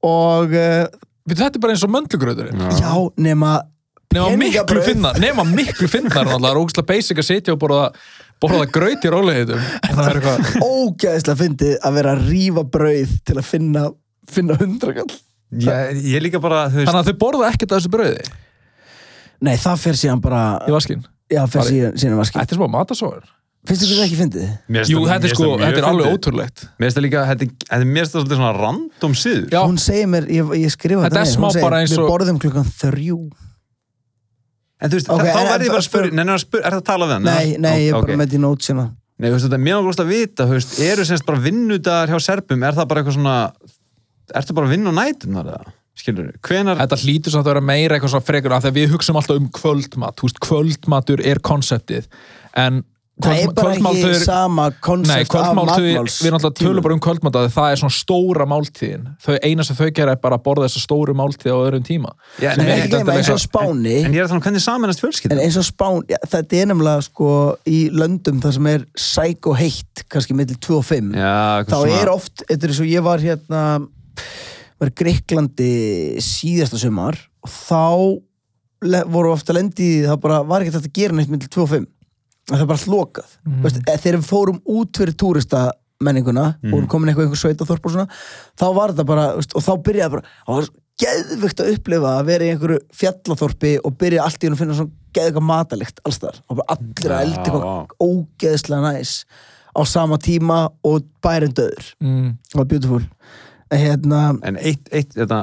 og uh,
Við þetta er bara eins og möndlugröðurinn.
já, nema
Nefna miklu
peningabrauð.
finnar, nefna miklu finnar náttúrulega, það er ógæslega basic að sitja og borða, borða gröyt í rólegiðum. Það er eitthvað,
ógæðislega fyndið að vera að rífa brauð til að finna, finna hundrakall
ég, ég líka bara, þú veist
þannig að þau borða ekkert af þessu brauði
Nei, það fer síðan bara
í vaskinn.
Já, fer
Bara-
síðan, síðan var skil
Þetta er smá matasóður.
Finnst þér þetta ekki fyndið?
mér finnst
Jú, þetta
það- mér
er
finnst
sko,
það mjög
þetta er alveg
fyndið.
ótrúlegt.
Mér finnst það líka, þetta er- þetta er mér finnst það svolítið svona random síður
Já,
Hún segir mér, ég, ég skrifa
Þetta er
niður,
smá
hún segir,
bara eins og-
Við borðum klukkan þrjú
En þú veist,
Ok,
þá
en-
verði ég bara að
spyr-
spyrja, neina að spyrja, er það að tala við hann?
Nei, nei, ég er bara
okay.
með því nót sína
Nei, þú veist, þetta er mjög góðst að vita, þú veist, eru semst bara vinnudagar hjá Serbum, er það bara eitthvað svona, er það bara að vinna á nætum þar eða? Skilur þú, hvenar,
Þetta hlýtur samt að vera meira eitthvað svona frekar af því að við hugsaum alltaf um kvöldmat þú veist, kvöldmatur er konseptið en
Það er bara ekki
kvöldmáltöður
sama
Nei,
konsept af
kvöldmáltíð,
matmáls
við náttúrulega tölum bara um kvöldmátt að það er svona stóra máltíðin þau eina sem þau gera er bara að borða þessa stóru máltíð á öðrum tíma
Já,
Sem er ekkert
En
nei,
ekki
endilega
nema eins og á
eitthvað-
Spáni
en ég er að tala um hvernig samanast
En
fjölskylda?
eins og Spán, já, þetta er nefnilega sko í löndum það sem er sæk og heitt, kannski millir 2 og 5
Já,
þá er oft, þetta er svo ég var hérna var í Greiklandi síðasta sumar og þá le- voru ofta lendi í því, það bara var ekki þetta að gera neitt millir 2 og 5 það er bara lokað mm. Veist, eh, þegar við fórum út fyrir túrista menninguna og vorum komin eitthvað einhver sveitaþorp og svona þá var þetta bara, veist, og þá byrjaði bara það var svo geðvögt að upplifa að vera í einhverju fjallaþorpi og byrja allt í hún að finna svona geðvögt matalikt alls þar og bara allir að eldi
Já, vá.
eitthvað ógeðslega næs á sama tíma og bærin döður
mm,
það var beautiful En hérna,
En eitt, eitt, þetta,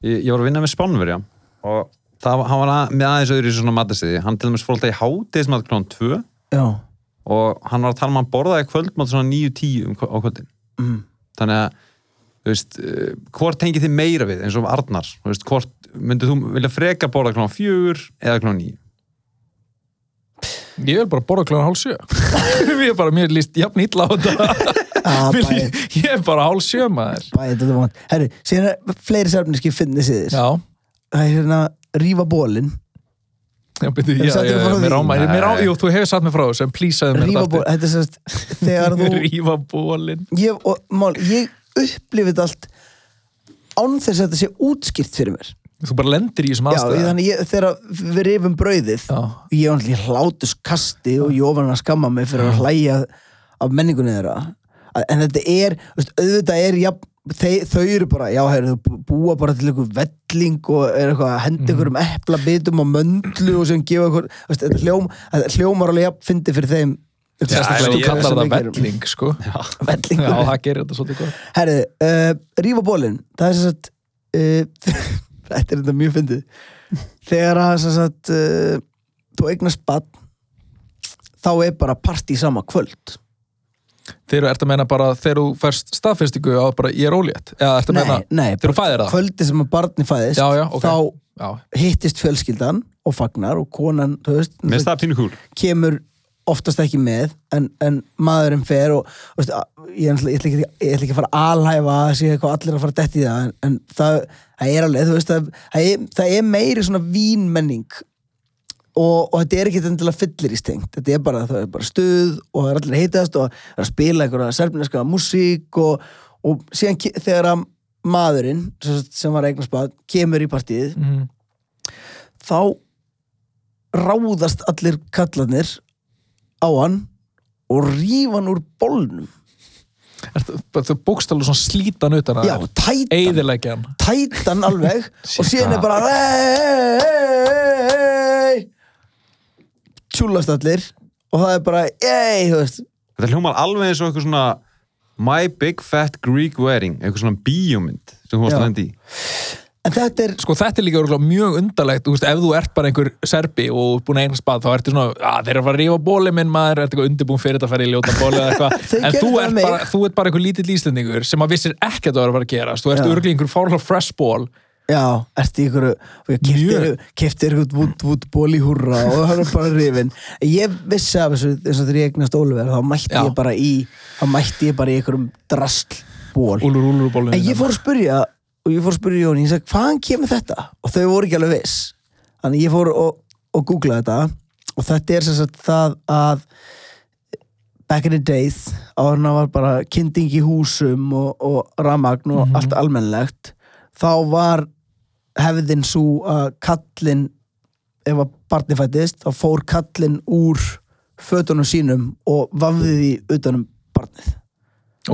ég, ég var að vinna með Spánverja og það, hann var að, með aðeins öðru í svona matasiði, hann til dæmis fór alltaf í hátismat klón 2
já,
og hann var að tala um að hann borðaði kvöldmat svona 9-10 um, kvö- á kvöldin.
mm,
þannig að þú veist, eh, hvort tengið þið meira við eins og Arnar, þú veist, hvort myndið þú vilja freka borða klán fjögur eða klán níu
Ég vil bara borða klána hálf sjö Ég er bara, mér líst jafn illa á þetta
að
Mér
bæði
lí- Ég er bara hálf sjö maður
bæði þetta vant herru, síðan er fleiri sérfniski finnir síðir
Já,
það er hérna rífa bólin
já, byrju,
Hefur
já,
sagt
já,
þér frá
já,
því?
mér á, mér mér á,
Nei.
jú, þú hefur satt mig frá þessu en plísaði mér
rífa bólin, þetta er sérst þegar þú
aftur. Rífa bólin
ég, og, mál, ég upplifið þetta allt án þess að þetta sé útskýrt fyrir mér
Þú bara lendir í þessum
já, ég,
aðstæða
þannig ég, þegar við rifum brauðið
Já.
ég var náttúrulega hlátus kasti og ég ofan að skamma mig fyrir að hlæja af menningunni þeirra Að- en þetta er, þú veist, auðvitað er ja, þau, þau eru bara, já, heyrðu, þau bú- búa bara til einhver velling og er eitthvað að henda einhverjum
Mhm.
eplabitum og möndlu og sem gefa einhver, þú veist, þetta hljóm, þetta hljómar alveg jafn fyndi fyrir þeim
Sérstaklega
en
þú
ég-
kallar
sem
það
við gerum.
velling, sko
velling
Já, það gerir þetta svolítið gott
Herðu, uh, rífa bólinn Það er sem sagt uh, Þetta er þetta mjög fyndið Þegar að sem sagt uh, Þú eignast bann Þá er bara partí sama kvöld
Þegar þú ert að meina bara, þegar þú færst staðfestingu á bara, ég er ólétt Eða ert að meina,
nei
þegar þú fæðir það
Kvöldi sem að barni fæðist
Já, já, ok.
Þá
Já,
hittist fjölskyldan og fagnar og konan, þú veist
mér finnst það pínu kúl
kemur oftast ekki með en, en maðurinn fer og þú veist, að- ég, ætla, ég, ætla ekki, ég ætla ekki að fara að alhæfa að sé eitthvað allir að fara að detti það en, en það, það er alveg þú veist, það, það, er, það er meiri svona vínmenning og, og þetta er ekki endilega fyllir í stengt þetta er bara, það er bara stuð og það er allir að heitast og það er að spila einhverja serbineska músík og, og síðan ke- þegar að maðurinn sem sagt, sem var eignarsbað kemur í partíið
mhm.
þá ráðast allir kallarnir á hann og rífa hann úr bólnum
Ert- bara Þú bókst alveg svona slítan utan að
já, tætan,
Eðilegja hann
tætan alveg og síðan er bara tjúlast allir og það er bara ei, þú veist
þetta hljómar alveg eins og eitthvað svona My Big Fat Greek Wedding eitthvað svona bíómynd sem þú varst
Já.
að lenda í
En þetta er,
sko þetta er líka örugglega mjög undarlegt þú veist, ef þú ert bara einhver serbi og búin að eignast bað, þá ertu svona, að þeir eru að fara að rífa bóli minn maður, ertu eitthvað undirbúin fyrir þetta að fara í ljóta bóli eða
Þau
eitthvað, en
gerðu
þú
það
ert,
við
bara,
mig.
þú ert bara einhver lítill íslendingur sem að vissir ekki að það var að fara að gerast þú ert
Já.
örglega einhver fárlega fresh ból
já, ertu í ykkur og ég kefti-
Mjög.
kefti ykkur vút, vút ból í húrra og það var bara rifin ég vissi af þessu, þess að þegar ég eignast Oliver þá mætti
Já.
ég bara í þá mætti ég bara í einhverjum drastl ból
úlur úlur bólin
En ég fór að spyrja og ég fór að spyrja Jóni, ég sagði, hvaðan kemur þetta? Og þau voru ekki alveg viss. Þannig ég fór og, og googlaði þetta og þetta er sem sagt það að back in the days áður en það var bara kynding í húsum og, og ramagn og allt almennlegt þá var hefðin svo að kallinn ef að barni fættist þá fór kallinn úr fötunum sínum og vafði því utanum barnið.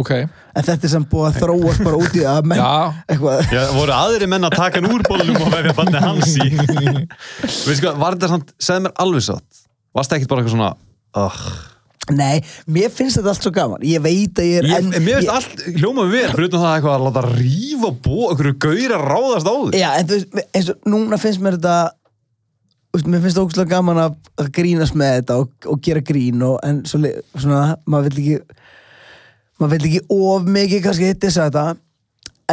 ok,
En þetta er sem búið að þróast bara út í það að menn
já,
eitthvað
Já, voru aðri menn að taka hann úr bólnum og vefja banni hans í Veist hvað, var þetta samt, segð mér alveg satt Varst það ekkert bara eitthvað svona oh.
Nei, mér finnst þetta allt svo gaman Ég veit að ég er
ég,
enn
Mér veist
ég,
allt hljóma við fyrir utan það eitthvað að láta rífa bó einhverju gauðir að ráðast á þig
Já, en þú veist, eins og núna finnst mér þetta þú veist, Mér finnst það ógustlega gaman að, að grínast með þetta og, og gera grín og, En svo, le- svona, maður vill ekki Maður vill ekki of mikið kannski hitt þess að þetta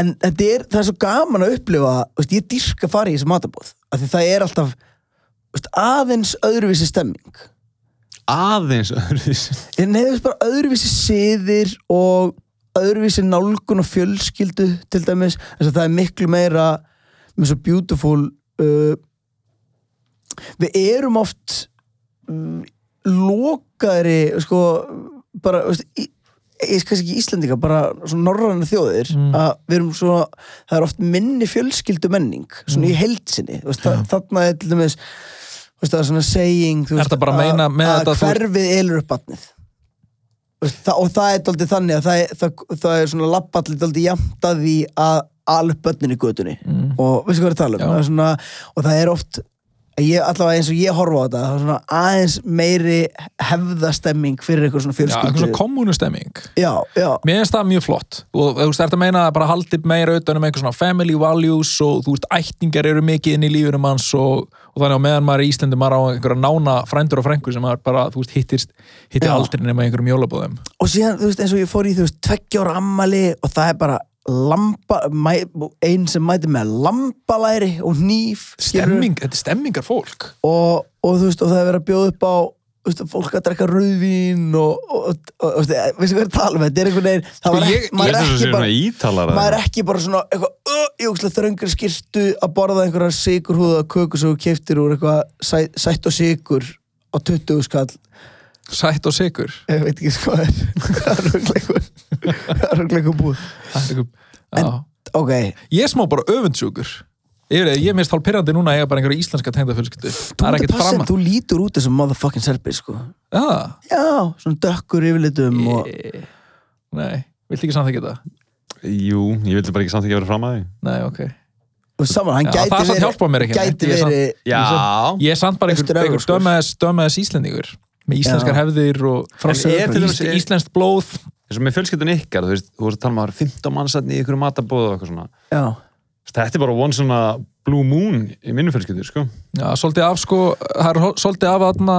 En þetta er, það er svo gaman að upplifa þú veist, Ég dýrka að fara í þessi matabóð af Því það er alltaf þú veist, aðeins öðruvísi stemming
Aðeins öðruvísi.
Ég nefnist bara öðruvísi siðir og öðruvísi nálgun og fjölskyldu til dæmis, þess að það er miklu meira með svo beautiful uh, við erum oft um, lokaðri sko, bara veist, í, ég veist kannski ekki Íslendinga bara svona norræna þjóðir
Mm.
að við erum svona, það er oft minni fjölskyldu menning, svona
Mm.
í heldsinni þú veist, það, þarna er til dæmis þú veist, það er svona saying þú
Ertu
veist,
að bara meina með
að
þetta að þú-
hverfið elur upp batnið Þa, og það er daldið þannig að það er, það, það er svona lappallið daldið jafnt að því að ala upp börnin í götunni og veistu hvað ég er að tala um
Mm. Já.
Það er svona, og það er oft ég, allavega eins og ég horfa á þetta það er svona aðeins meiri hefðastemming fyrir eitthvað svona
já, eitthvað
fjölskyldu
svona kommunustemming
já, já,
Mér finnst það mjög flott og þú veist, þetta meina að bara haldið meira auðvitað um einhver svona family values og þú veist, ættingar eru mikið inn í lífunum hans og, og þannig að meðan maður í Íslandi maður á einhverja nána frændur og frængur sem maður bara, þú veist, hittist hittir
Já.
aldrei nema í einhverjum jólabóðum
og síðan þú veist eins og ég fór í þú veist tveggjóra ammali og það er bara lampa, mæ, ein sem mæti með lambalæri og nýf
Stemming, þetta er stemmingar fólk
og, og þú veist, og það er verið að bjóða upp á þú veist, fólk að drekka rauðvín og, og, og, og þú veist, veistu hvað ég er að tala um þetta er einhvern veginn, það var
Sko,
ekki,
ég-
Ég
maður er
er þess að
ekki
séu svona
bara
ítalara
maður er ekki bara svona eitthvað uh, í ógeðslega þröngri skirtu að borða einhverja sigurhúða köku sem þú keftir úr eitthvað sæ, sætt og sigur á 20 skall
Sætt og sigur
ég veit ekki hvað er það er rögleikur það er rögleikur búið En- ok,
Ég er smá bara öfundsjúkur Ég, veit, ég minnst hálf pyrrandi núna að eiga bara einhverja íslenska tengdafölskyldu
þú,
Það er
ert
ekkert
að passa,
fram
en þú lítur út þessum motherfucking serbi sko.
Já,
já, svona dökkur yfirlitum og
e... Nei, vilt ekki samþykja þetta?
Jú, ég vildi bara ekki samt ekki vera fram að því
Nei, ok
og saman, hann
Já,
gæti
það er samt
verið-
hjálpað mér ekki,
gæti
ég er samt-
verið
Já
Ég er samt bara einhver,
Austur-Evrópskur.
einhver dömaðis, dömaðis íslendingur með íslenskar
Já.
hefðir og
En er til dæmis-
ísl,
er-
íslenskt blóð
eins og með fjölskyldun ykkar, þú veist, þú voru að tala um að það eru 15 mannsatni í ykkur matabóð og eitthvað svona
já,
Þetta er bara one svona blue moon í minnu fjölskyldu, sko
Já, svolítið af sko, það er hol- svolítið af aðna,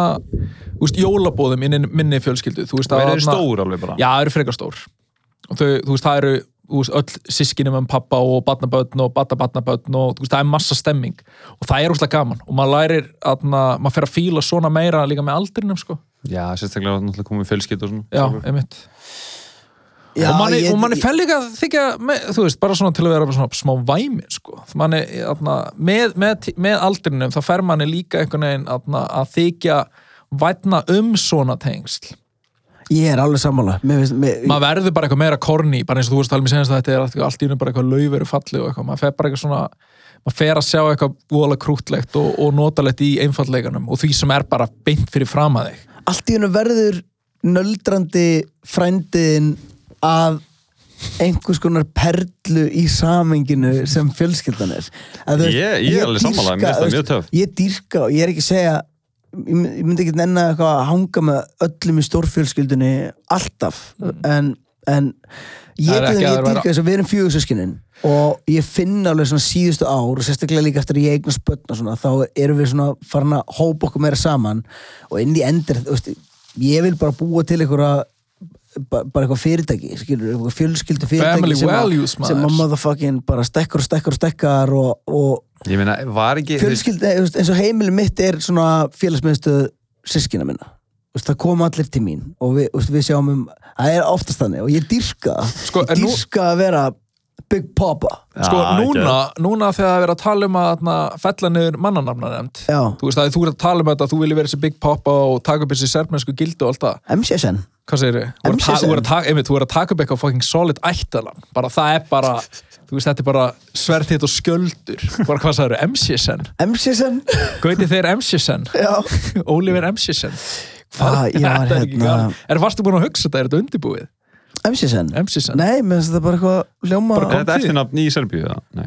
úst, jólabóðum inni minni fjölskyldu, þú veist
Það
að
eru
þarna-
stór alveg bara
Já, það eru frekar stór og þau, þú veist, það eru þú veist, öll sískinum um pappa og barnabötn og barnabarnabötn og þú veist, það er massa stemming og það er úrslega gaman og maður lærir að maður fer að fíla svona meira líka með aldrinum sko,
Já, sérstaklega var náttúrulega komið fjölskyldu og svona
já, einmitt
já
og manni,
ég-
og manni fer líka að þykja með, þú veist, bara svona til að vera bara svona smá væmi sko. manni, atna, með, með, tí- með aldrinum þá fer manni líka einhvern veginn atna, að þykja vætna um svona tengsl
ég er alveg sammála mér finnst, mér,
maður verður bara eitthvað meira korni bara eins og þú veist alveg senast að um þetta er allt, allt í unum bara eitthvað laufur og falli og eitthvað, maður fer bara eitthvað svona maður fer að sjá eitthvað voðalega krútlegt og, og notalegt í einfallleikanum og því sem er bara beint fyrir fram að þig
allt í hennu verður nöldrandi frændiðin að einhvers konar perlu í samenginu sem fjölskyldan er Að þú veist,
Ég- ég er alveg sammála, mér
dýrka,
finnst það
þú
mjög töff.
veist, ég dýrka og ég er ekki að segja ég my- ég myndi ekki nenni að eitthvað að hanga með öllum í stórfjölskyldunni alltaf en en
Mm. Það
ég
er
til
ekki
þeim,
að
ég
vera-
dýrka þess að við erum fjögur sískinin og ég finn alveg svona síðustu ár og sérstaklega líka eftir að ég eigna spötna svona, þá erum við svona farin að hópa okkur meira saman og inn í endir þú veist, ég vil bara búa til einhverja ba- bara eitthvað fyrirtæki skilur, eitthvað fjölskyldu fyrirtæki
Family
sem,
values,
að,
maður.
sem að motherfucking bara stekkar og stekkar og stekkar og, og
ég meina, var ekki þú veist,
fjölskylda, þú veist, eins og heimili mitt er svona félagsmiðstöð sískina minna Þú veist, það koma allir til mín og við, þú veist, við sjáum um, það er oftast þannig og ég dýrka það.
Sko,
ég
en nú-
dýrka að vera Big Papa
Sko,
Já,
núna, núna þegar það er verið að tala um að þarna, fella niður mannanamna
Já.
Þú veist að þú er að tala um þetta, þú vilji vera þessi Big Papa og taka upp þessi sermensku gildu og allt það
MCSN
Hvað segir þau?
MCSN.
Þú er að taka- einmitt, þú er að taka upp eitthvað fucking solid ættalan Bara það er bara, þú veist þetta er bara sverð þitt og skjöldur Bara hvað sagður, MCSN
MCSN,
Gauti þeir MCSN
já
Oliver MCSN
Hvað, ég var
Þetta er ekki
hérna
gaman. Er varstu búin að hugsa þetta, er þetta undirbúið?
MCSN,
MCSN?
nei, mér finnst þetta bara eitthvað hljóma
Bara
er þetta
framtíð.
eftir nafn í Serbíu eða? Nei.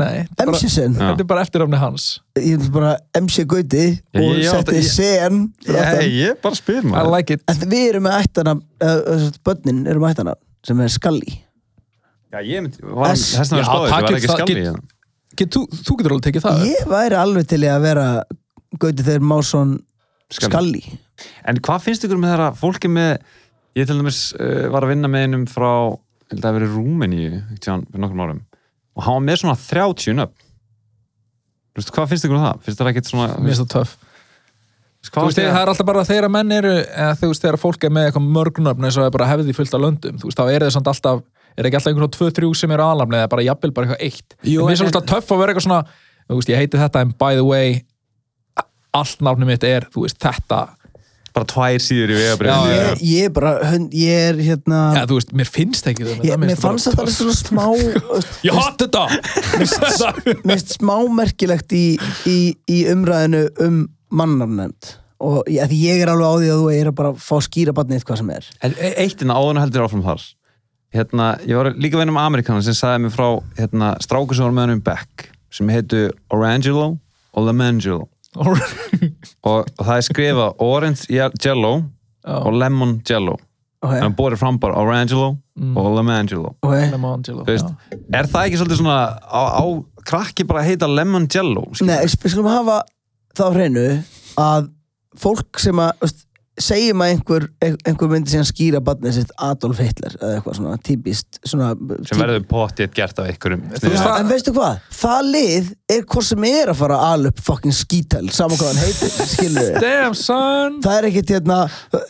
Nei, þetta er bara-
MCSN,
Já.
þetta er bara eftirafni hans
ég finnst bara MC Gauti
Já,
og
ég- ég átti-
setti
ég-
CN fyrir
ég,
aftan.
ég bara spyr
I
maður
like it
en við erum með ættana bönnin eru með ættana sem er Skalli
já, ég myndi, var,
S.
Já,
þess vegna spáði,
takk,
það var ekki hérna.
það
skalli
get-
í það.
Get, þú, þú getur alveg tekið það
Ég væri alveg til í að vera Gauti þegar Másson
Skalli.
Skalli
En hvað finnst ykkur um með þeirra fólki með ég til dæmis uh, var að vinna með einum frá ég held að hafi verið Rúmeníu einhvern tímann fyrir nokkrum árum og hann var með svona 30 nöfn Þú veist, hvað finnst ykkur um það? Finnst það ekkert svona
Mér finnst það töff
veist,
Þú
hvað
veist, það er alltaf bara þegar að menn eru eða þú veist, þegar fólk er með eitthvað mörgnöfn eins og er bara hefði fullt af löndum þú veist, þá er það samt alltaf er ekki alltaf einhvern og tvö, þrjú sem eru aðlamni eða bara jafnvel bara eitthvað eitt
Jú,
Jú, Mér finnst
en-
það alltaf töff að vera eitthvað svona þú veist, ég heiti þetta en by the way allt náfnum mitt er, þú veist, þetta
bara tvær síður í
Já, já.
vegabrið
Ég, ég er bara, hund, ég er hérna
eða þú veist, mér finnst ekki það
ég, Mér fannst þetta alveg svona smá
Ég hatt þetta!
Mér finnst smá merkilegt í, í, í umræðinu um mannarnefnd og ég, af því ég er alveg á því að þú er að bara fá skýra barnið hvað sem er
En e- eitt innan áðurinn heldur áfram þar hérna, ég var líka veginn um Amerikanar sem sagði mér frá hérna, strákur sem var með hann um Beck sem heitu Orangelo og Lemangelo og, og það er skrifað Orange Ye- Jello og Lemon Jello
Eh?
en
okay.
hann borið fram bara Orangelo og Lemangelo
Okay.
Lemon Jello,
Þú veist,
Mm. já.
er það ekki svolítið svona á, á krakki bara að heita Lemon Jello skilur?
Nei, við skulum hafa þá hreinu að fólk sem að veist, segjum að einhver, einhver myndi síðan skýra barnið sitt Adolf Hitler eða eitthvað svona típist svona,
sem verður pottið gert af einhverjum
Þú veist
sniðum.
það-
En veistu hvað? Það lið er hvort sem er að fara að ala upp fucking skítal saman hvað hann heitir, skilur við
Damn son
Það er ekkert hérna,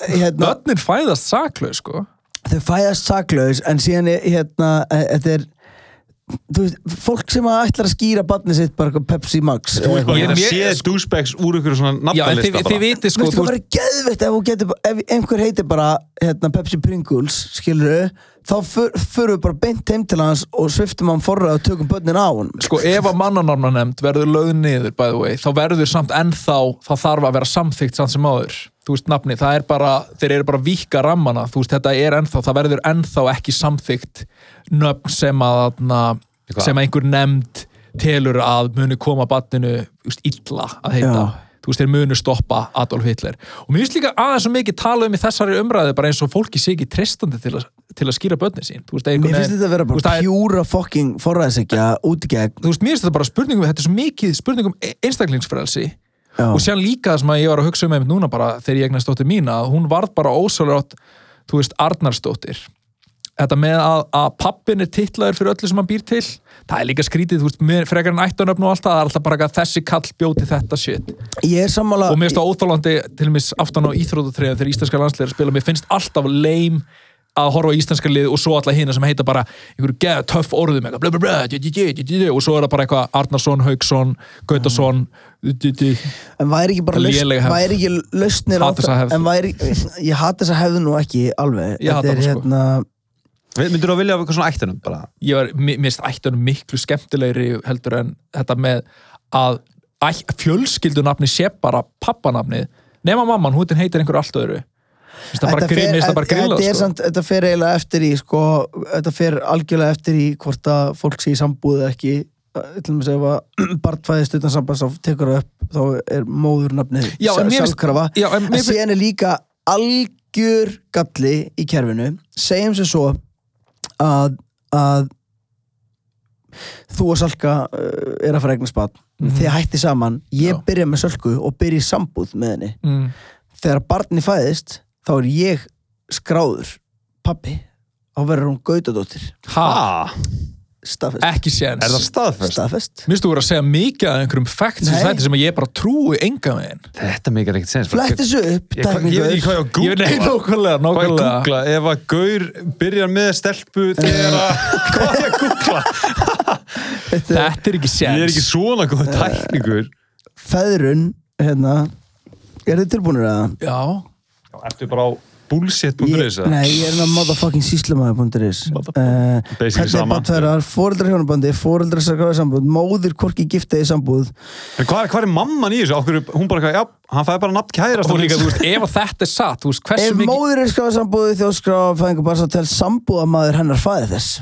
hérna
Börnin fæðast saklu, sko
þau fæðast saklaus en síðan er, hérna e- þetta er þú veist, fólk sem að ætlar að skýra barnið sitt bara eitthvað Pepsi Max eða
og
eitthvað.
ég
Ég- mér-
sé
sko-
douchebags úr einhverju
Já,
svona
en þið,
nafnalista
þið
bara
vitið, sko
Veistu
þú-
hvað verður geðveitt ef, þú getur, bara- ef einhver heitir bara hérna, Pepsi Pringles, skilur þá för- förum við bara beint heim til hans og sviftum hann forrað og tökum börnin á hann
sko ef að mannanamna nefnd verður lögð niður by the way, þá verður samt ennþá það þarf að vera samþygt samt sem áður þú veist nafni, það er bara, þeir eru bara víka rammana, þú veist þetta er ennþá það verður ennþá ekki samþygt nöfn sem að na,
Eitthvað.
sem að einhver nefnd telur að muni koma banninu illa að heita
Já.
þú veist, þeir munu stoppa Adolf Hitler og mér finnst líka aðeins svo mikið tala um í þessari umræði bara eins og fólki sé ekki tristandi til að, til að skýra börnin sín þú veist, það er einhvern
Mér finnst
veginn-
þetta að vera
þú veist,
bara
það er-
pjúra fucking forræðisækja út í gegn
þú veist, mér finnst þetta bara spurningum þetta er svo mikið spurningum einstaklingsfrelsi
Já.
og séðan líka það sem að ég var að hugsa um einmitt núna bara þegar ég egnast dóttir mína að hún varð bara ósálrátt, þú veist, Arnarsdóttir þetta með að, að pappin er titlaður fyrir öllu sem hann býr til það er líka skrítið, þú veist, með frekar en ættanöfn og allt það, það er alltaf bara að þessi kall bjóti þetta shit
Ég er sammála
og mér finnst það óþálandi til og meins aftan á íþrótatreyðum þegar íslenska landsleir spila, mér finnst alltaf leim að horfa á íslenska lið og svo alltaf hina sem heita bara einhverju geða töff orðum eitthvað, blö, blö, blö, djú, djú, djú, djú, djú, og svo er það bara eitthvað Arnarsson, Hauksson, Gautason djú, djú.
En væri ekki bara lausn,
Léleg hefð.
væri ekki lausnir
Hata þessa hefð.
En væri, ég hata þessa hefð nú ekki alveg
Ég hata
Þetta er
hana, sko.
hérna
myndur þú að vilja af eitthvað svona ættunum bara
ég var, mi- mér finnst ættunum miklu skemmtilegri heldur en þetta með að æ- fjölskyldunafni sé bara pappanafnið nema mamman, hún heitir einhverju allt öðru Mér finnst það bara
Þetta
gri-
fer-
mér finnst það bara
þetta-
grillað
þetta er
sko.
samt- Þetta fer eiginlega eftir í sko, Þetta fer algjörlega eftir í hvort að fólk sé í sambúð eða ekki Ég ætlum að segja að barnfæðist utan samband þá tekur það upp, þá er móður nafnið
Já, en mér finnst-
sjálfkrafa
Já, en
en
mér finnst-
síðan er líka alg algjör galli í kerfinu segjum sem svo að, að þú og Salka uh, er að fara eignar spad
Mhm.
mm þið hætti saman, ég
Já.
byrja með Sölku og byrja í sambúð með henni
mm.
þegar barni fæðist þá er ég skráður pappi, þá verður hún gautadóttir
ha,
Ha?
staðfest,
ekki séns
Ah, Er það staðfest?
staðfest.
Mér stu að vera að segja mikið að einhverjum facts
Nei.
sem þetta sem að ég bara trúi enga með henn.
Þetta mikið er ekkert sens.
flett þessu upp
Ég hvað- ég veit ekki
tækningur.
hvað ég á að
Ég veit
googla.
nákvæmlega,
Hvað ég
nákvæmlega.
googla? Ef að Gaur byrjar með stelpu þegar að... Hvað ég að googla?
Þetta er ekki séns.
Ég er ekki svona
Eh.
góð tækningur.
feðrun hérna, er þið tilbúinir að það?
Já,
Ertu bara á bullshit.is?
Ég- Nei, ég er með motherfucking síslamaður.is uh,
Basically
Hvernig er
sama.
batverðar, fóreldrar hjónabandi, fóreldrar sarkrafi sambúð, móðir korki giftaði sambúð
En hvað er, hvað er mamman í þessu? Okkur, hún bara, eitthvað, já, hann fæði bara nafn kærast.
og líka, þú veist, ef að þetta er satt, þú veist, hversu
Ef
mikið...
móðir er skrafið sambúði þjóðskrafa fæðingar bara svo tel sambúðamaður hennar fæði þess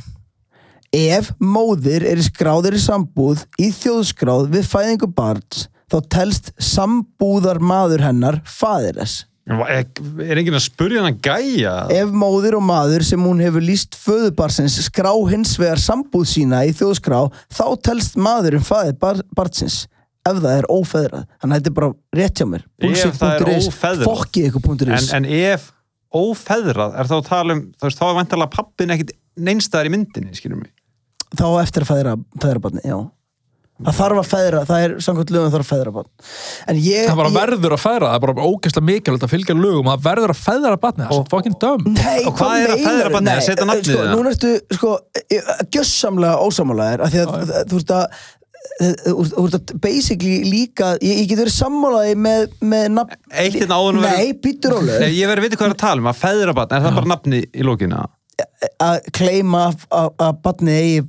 Ef móðir er skráðir í sambúð í þjóðskráð við fæðingu barns þá telst sambúðar maður hennar fæðir þess
Er, er enginn að spurja hann að gæja?
Ef móðir og maður sem hún hefur líst föðubarsins skrá hins vegar sambúð sína í þjóðskrá þá telst maðurinn faðir bar barnsins ef það er ófeðrað þannig að þetta er bara rétt hjá mér
Ef það er ófeðrað.
fokkið ykkur punktur
En,
ís
en ef ófeðrað, er þá að tala um, þú veist, þá er vantarlega pappin ekkit neinstæðar í myndinni, skilur mig.
þá á eftir að feðra, feðra barni já. það þarf að feðra, það er samkvæmt lögum þarf að feðra barn en ég,
Það bara
ég
verður að feðra, það er bara ógeðslega mikilvægt að fylgja lögum, það verður að feðra batni, það er fucking dumb.
Nei,
Og hvað er að
meinar-
feðra barnið?
Nei,
Að setja nafnið
Sko,
í það?
núna ertu, sko, gjössamlega ósamálaðir af því að þú ert að þú ert- þú ert að basically líka ég, ég get verið sammálaði með, með nafn
Eitt hérna áður en við-
Nei, býttu rólu
Nei, ég verði að vita hvað er að tala um, að feðrabatn, er það bara nafni í lókina?
að kleima að barnið eigi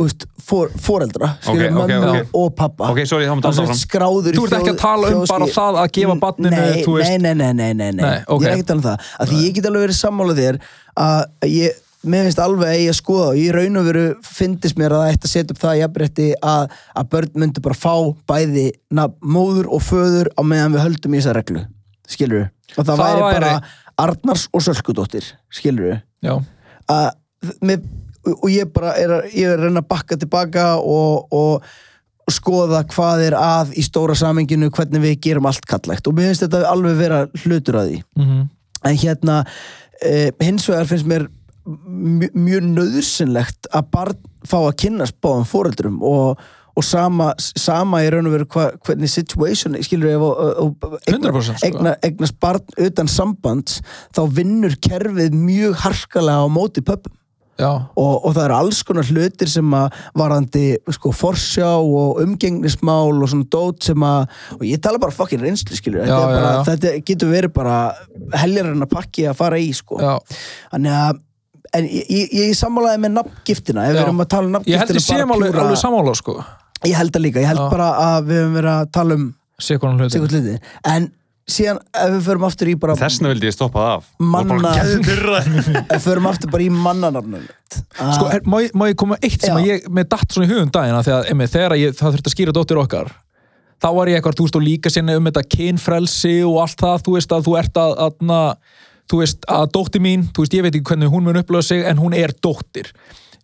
úst, for, foreldra skilur
Ok, ok,
mömmu
ok.
og pappa
Ok, sorry, þá
Þú
mátt halda
ert
áfram.
skráður í
Þú ert ekki að tala um
þjóð-
bara
þjóðskri-
það að gefa barninu,
nei,
þú veist-
nei, nei, nei, nei, nei, nei.
Nei, ok.
ég er ekki að tala um það að því ég get alveg verið sammála þér að ég Mér finnst alveg að ég að skoða og ég raun og veru fyndist mér að það ætti að setja upp það jafnrétti að, að börn myndu bara fá bæði nafn móður og föður á meðan við höldum í þessa reglu skilur og það,
Það
væri,
væri-
bara Arnars og Sölkudóttir skilur
Já,
að með, og ég bara er að, ég er að reyna að bakka tilbaka og, og skoða hvað er að í stóra samenginu hvernig við gerum allt kallegt og mér finnst þetta alveg vera hlutur að því
mhm.
en hérna eh, hins vegar finnst mér mjö- mjög nöðsynlegt að barn fá að kynnast báðum fóreldrum og, og sama, sama í raun og veru hva, hvernig situation skilur ef og, og,
100% sko.
egna, egnast barn utan sambands þá vinnur kerfið mjög harkalega á móti pöppum
Já,
og, og það eru alls konar hlutir sem að varandi sko forsjá og umgengnismál og svona dót sem að og ég tala bara fucking reynslu skilur þetta,
Já,
er
já,
bara,
já.
þetta getur verið bara heljarinn að pakki að fara í sko
já.
þannig að en ég, ég, ég sammálaði með nafngiftina
Já.
ef við erum að tala um
Ég held
nafngiftina
ég séum
bara
alveg,
pjúra-
alveg sammála, sko.
ég held það líka, ég held
Já.
bara að við höfum verið að tala um
Sikkonan hluti.
sikkert hluti en síðan ef við förum aftur í bara
Þessna vildi ég stoppa það af.
Manna-
Manna.
ef við förum aftur bara í mannanarnum
Sko, her, má, ég- má ég koma með eitt sem
Ah. Já.
að ég með datt svona í um hugum dagina þegar, emi, þegar ég, það þurfti að skýra dóttir okkar þá var ég eitthvað, þú veist, og líka sinni um þetta kynfrelsi og allt það, þú veist að þú ert að, að, þú veist, að dóttir mín, þú veist, ég veit ekki hvernig hún mun upplöða sig en hún er dóttir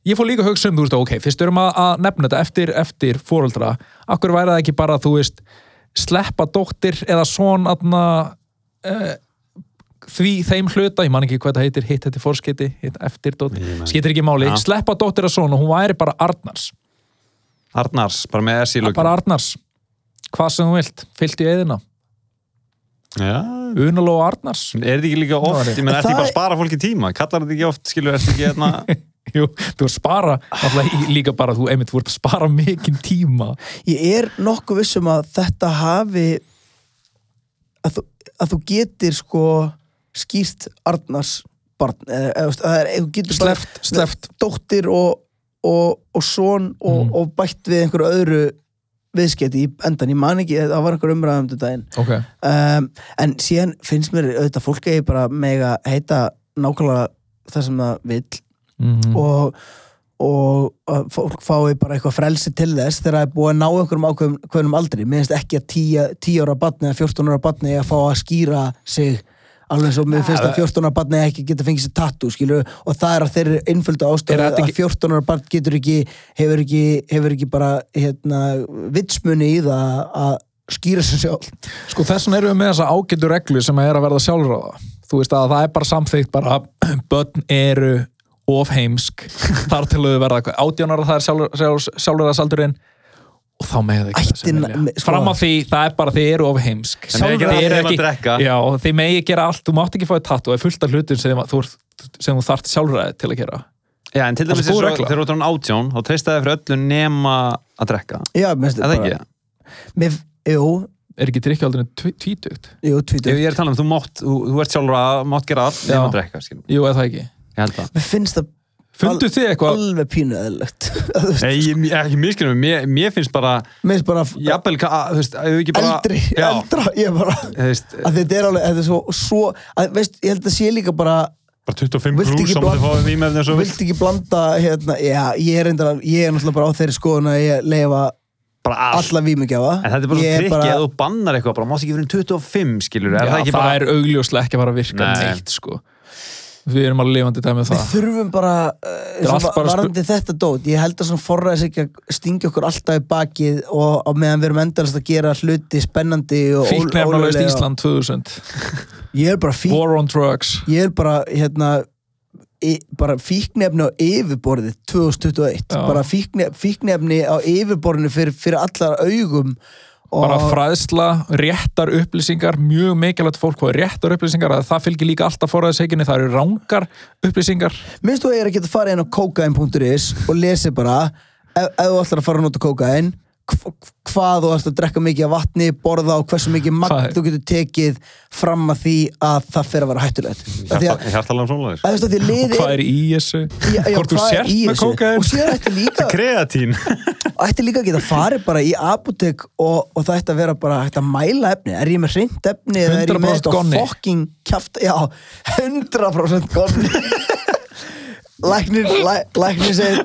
ég fór líka að hugsa um, þú veist, ok, fyrst erum að, að nefna þetta eftir, eftir fóröldra akkur væri það ekki bara, þú veist sleppa dóttir eða svon aðna, því þeim hluta, ég man ekki hvað það heitir hitt þetta fórskeiti, hitt eftir dóttir skiptir ekki máli,
Ja.
sleppa dóttir að svona hún væri bara Arnars,
Arnars, bara með S í
bara
lókina.
Arnars hvað sem þú vilt, fyllt í eðina
Já.
Unaló Arnars
Er þetta ekki líka oft, ég menn,
En það
ertu ekki bara
er-
að spara fólki tíma? Kallar þetta ekki oft, skilur, ertu ekki hérna...
Jú, þú ert spara, alltaf í- líka bara þú, einmitt, þú ert að spara mikinn tíma
ég er nokkuð vissum að þetta hafi að þú, að þú getir sko skýrt Arnars barn eða, eða, veist, það er, þú getur
Sleppt- sleppt. Mm.
dóttir og, og, og son og, og bætt við einhverju öðru viðskeiti í endan, ég man ekki það var einhver umræðum til daginn
ok,
um, en síðan finnst mér auðvitað fólk eigi bara mega heita nákvæmlega það sem það vill
Mhm. Mm.
og, og að fólk fái bara eitthvað frelsi til þess þegar það er búið að ná einhverjum ákveðum hverjum aldri, mér finnst ekki að 10 10 ára batni eða 14 ára batni að fá að skýra sig alveg svo mér finnst að 14 ára barni ekki geta fengið sér tattoo skilur og það er að þeirri innföldu
Er
ástæðu
þetta
að
ekki-
14 ára barn getur ekki hefur ekki, hefur ekki bara hérna, vitsmunni í það að skýra sér sjálf
Sko þess vegna erum við með þessa ágætu reglu sem er að verða sjálfráða. Þú veist að það er bara samþykkt bara börn eru of heimsk þar til þau verða eitthvað. 18 ára það er sjálf, sjálf, sjálfráðasaldurinn og þá með ekki það sem
Ættin-
vilja.
sko-
Fram að því það er bara þið eru of heimsk.
Þið megið
Þið
gera allt
eru
nema að drekka.
Já, og þið megi gera allt, þú mátt ekki fá þér tatt og er fullt af hlutum sem þú, ert- sem þú þart sjálfræði til að gera.
Já, en til
Það er svo
dæmis eins
góð
og
regla.
þegar þú ert án átján þá treystaði fyrir öllu nema að drekka
Já, mér finnst
Er það ekki?
mér, Jú,
Er ekki drikkjaldurinn tvítugt?
jú,
Ef
tvítur
ég er að tala um, þú mátt, þú, þú ert sjálfur að mátt gera allt nema
Já.
að drekka, skiljum
Jú, eða það ekki.
Ég held það
Mér finnst það
Fundu þið eitthvað?
alveg pínu eðlilegt Þú veist,
Nei, ég, ég- ekki miskjum, mér, mér finnst bara
Mér finnst bara
jafnvel, ka- þú veist, ef við ekki bara
eldri,
já,
eldra Ég bara
þú veist,
að þetta er alveg, þetta er svo, svo að, veist, ég held að sé líka bara
bara 25
Viltu ekki
krús og
blanda-
maður fáið vímefni eins og þú vilt
vilt ekki blanda hérna, já, ég er reyndar, alveg- ég er náttúrulega bara á þeirri skoðun að ég leifa
bara allt
alla vímugjafa
En þetta er bara
Ég
svo trikki að þú bannar eitthvað bara, mátt ekki fyrir 25 skilur
Já,
er það
það
ekki bara,
er augljóslega ekki að fara að virka
Nei.
neitt, sko. Við erum alveg lifandi dæmið
við
það.
þurfum bara,
er
uh,
allt
svona,
bara spu-
varandi þetta dót ég held að svona forræðis ekki að stingja okkur alltaf í bakið og á meðan við erum endalast að gera hluti spennandi og ól-
Fíknefnalaust
ólöglega.
Ísland 2000
ég er bara fík,
War on drugs
ég er bara hérna e, bara fíknefni á yfirborðið 2021,
Já.
bara fíkne, fíknefni á yfirborðinu fyrir, fyrir allar augum og
bara fræðsla, réttar upplýsingar mjög mikilvægt fólk hvað er réttar upplýsingar að það fylgir líka alltaf forræðisheginni það eru rangar upplýsingar
minnst þú að ég er að geta farið inn á kokain.is og lesi bara ef, ef þú ætlar að fara að nota kokain hv- hvað þú ætlar að drekka mikið af vatni borða og hversu mikið
Það
magn
er-
þú getur tekið fram að því að það fer að vera hættulegt Af því að,
hjartalega um sólaðir
að, þú veist, að því að liði
hvað er í þessu
Já, já,
hvort þú
hvað er
sért
í
með
þessu? og
kókaðin
síðan ætti líka
Kreatín
ætti líka að geta farið bara í apotek og, og það ætti að vera bara hægt að mæla efni er ég með hreint efni eða er ég
100%
með þetta
gonni?
fucking kjaft já, 100% gonni læknir læ, læknir segir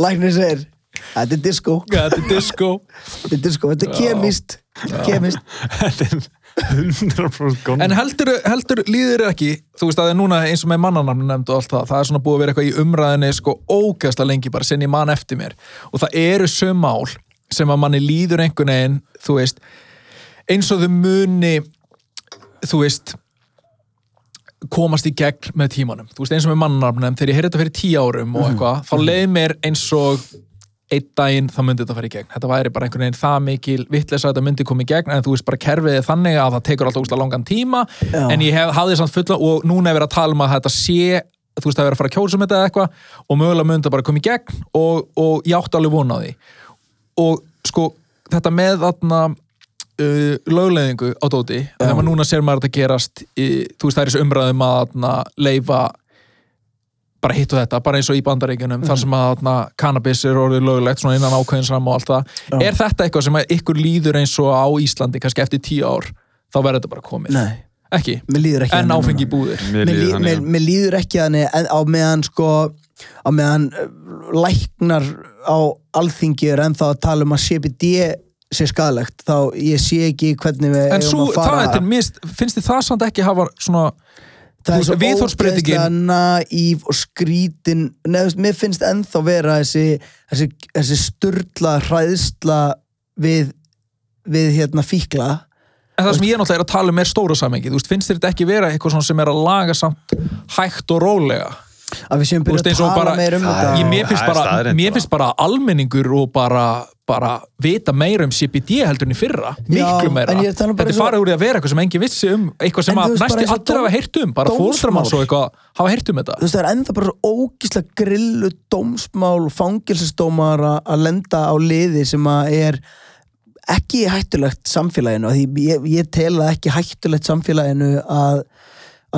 læknir segir þetta er disco
þetta er disco
þetta er disco þetta er
Já.
kemist kemist
Þetta er 100% góð
en heldur, heldur líður þér ekki þú veist að það er núna eins og með mannanamn nefnd og allt það það er svona búið að vera eitthvað í umræðinni sko ógæsta lengi bara sem ég man eftir mér og það eru söm mál sem að manni líður einhvern veginn þú veist eins og þau muni þú veist komast í gegn með tímanum þú veist eins og með mannarnafnum þegar ég heyrði þetta fyrir tíu árum og eitthvað, þá leið mér eins og einn daginn þá myndi þetta fara í gegn þetta væri bara einhvern veginn það mikil vitleysa að þetta myndi koma í gegn en þú veist bara kerfið er þannig að það tekur alltaf úsla langan tíma
Já.
en ég hef, hafði samt fulla og núna er verið að tala um að þetta sé þú veist það er verið að fara að kjósa um þetta eða eitthvað og mögulega myndi það bara koma í gegn og, og ég átti alveg vona á því og sko þetta með þarna uh, lögleðingu á dóti að þegar maður núna sér maður þetta gerast í, þú veist það er þessu umræðum að þarna, leifa bara hitt og þetta, bara eins og í bandaríkjunum
Mhm.
þar sem að þarna, cannabis er orðið löglegt svona innan ákveðinsram og allt það
Já.
er þetta eitthvað sem að ykkur líður eins og á Íslandi kannski eftir tíu ár, þá verður þetta bara komið
nei
ekki,
mér líður ekki
en
þannig núna.
áfengi í búðir
Mér líður þannig,
mér,
já.
mér líður ekki þannig en á meðan sko á meðan uh, læknar á alþingi er ennþá að tala um að CBD sé skadalegt þá ég sé ekki hvernig við
en svo,
eigum að
það
fara
er til mist finnst þið það samt ekki hafa svona
það
þú veist, viðhorfsbreytingin-
naív og skrítin Nei, þú veist, mér finnst ennþá vera þessi, þessi, þessi sturla hræðsla við, við hérna fíkla
En það sem ég náttúrulega er að tala um er stóra samengi, þú veist, finnst þér þetta ekki vera eitthvað svona sem er að laga samt hægt og rólega?
að við séum
Þú veist,
byrja að
eins og
tala
bara,
meira um þetta
ég, mér finnst
Það er
bara,
staðreynd
mér
bara.
finnst bara að almenningur og bara, bara vita meira um CBD heldur en í fyrra, miklu meira.
en ég tala
Þetta
bara
er
eins og-
farið úr því að vera eitthvað sem engi vissi um, eitthvað
En
sem
þú
að
veist, bara
næstu
eins og
allir
dóm-
hafa heyrt um, bara
dómsmál.
fóreldramanns og eitthvað hafa heyrt um
þú
þetta.
veist það er ennþá bara svo ógísla grillu dómsmál, fangilsistómar að að lenda á liði sem að er ekki hættulegt samfélaginu, af því ég, ég tel það ekki hættulegt samfélaginu að,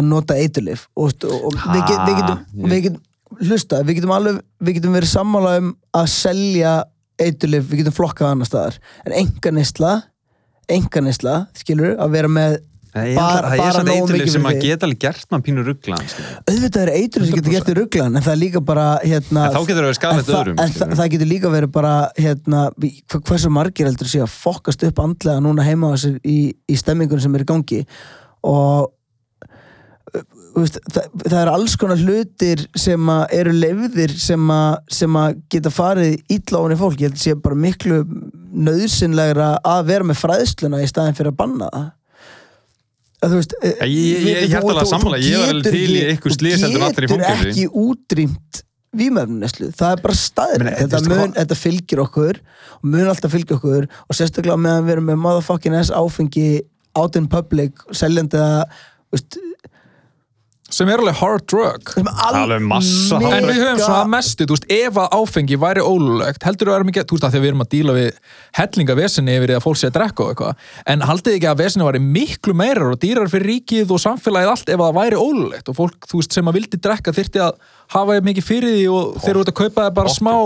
að nota eiturlif og, veist, og
Ha,
við, get, við getum, við getum hlusta, við getum alveg við getum verið sammála um að selja eiturlif, við getum flokkað annar staðar en enga neysla enga neysla, skilur, að vera með
Nei, ég held að- Það er
bara
samt
nógu
eitthvað
mikið
sem
fyrir
að
þig.
geta alveg gert mann pínu rugglan
auðvitað er eitrun sem getur gert í rugglan en það er líka bara hérna,
En þá getur það verið skaðlegt
en það-
öðrum,
en það,
skilurðu.
það getur líka verið bara hérna, hva- hversu margir heldur sé að fokkast upp andlega núna heima á sér í, í stemmingun sem er í gangi og þú veist, það, það er alls konar hlutir sem að eru leiðir sem að, sem að geta farið illa ofan í fólk, ég held að sé bara miklu nöðsynlegra að vera með fræðsluna í staðin fyrir að banna það að þú veist
ég- ég- ég hjartanlega sammála, ég var alveg til í einhver slys heldur en allir í
fangelsi
fangelsi.
ekki útrýmt vímöfnuneslu, það er bara staðir
Meina,
þetta,
veistu
mun,
hvað-
þetta fylgir okkur og mun alltaf fylgja okkur og sérstaklega meðan við erum með motherfucking ass áfengi out in public, seljandi það þú veist,
sem er alveg hard drug
sem al-
Alveg massa
mega-
en við
Sko,
höfum svona mestu, þú veist, ef að áfengi væri ólulegt, heldur við erum ekki, þú veist, að því að við erum að díla við hellinga vesinni yfir því að fólk sé að drekka og eitthvað, en haldið þið ekki að vesinni væri miklu meira og dýrar fyrir ríkið og samfélagið allt ef að það væri ólulegt og fólk, þú veist, sem að vildi drekka þyrfti að hafa jafn mikið fyrir því og þeir eru út að kaupa það bara smá,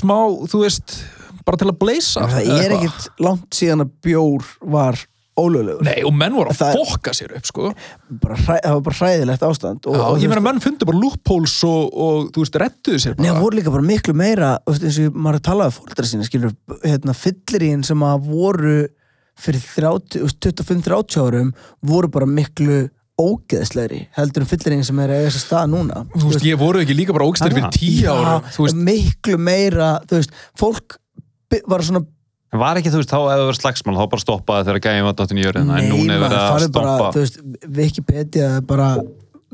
smá, þú veist, bara til að bleysa. eða
það er
eitthvað.
ekkit langt síðan að bjór var ólöglegur
Nei, og menn voru að
Það er-
fokka sér upp, sko.
bara, hræ, það var bara hræðilegt ástand og,
Já,
og,
ég
þú
meina,
veist,
menn fundu bara loopholes og, og þú veist, rettuðu sér
Nei,
bara.
það voru líka bara miklu meira þú veist, eins og maður er að tala við fóldra sína skilur, hérna, fyllirinn sem að voru fyrir 30 þú veist, 25-30 árum voru bara miklu ógeðslegri heldur en fyllirinn sem er að eiga þess að stað núna
Þú veist, ég voru ekki líka bara ógstari fyrir
Aha.
tíu árum, þú veist,
miklu meira þú veist, fólk by- var svona
En var ekki, þú veist, þá eða verið slagsmál, þá bara stoppaði þegar gæði var dottin í jörðina, en núna er
maður,
verið að
farið bara,
stoppa.
þú veist, Wikipedia er bara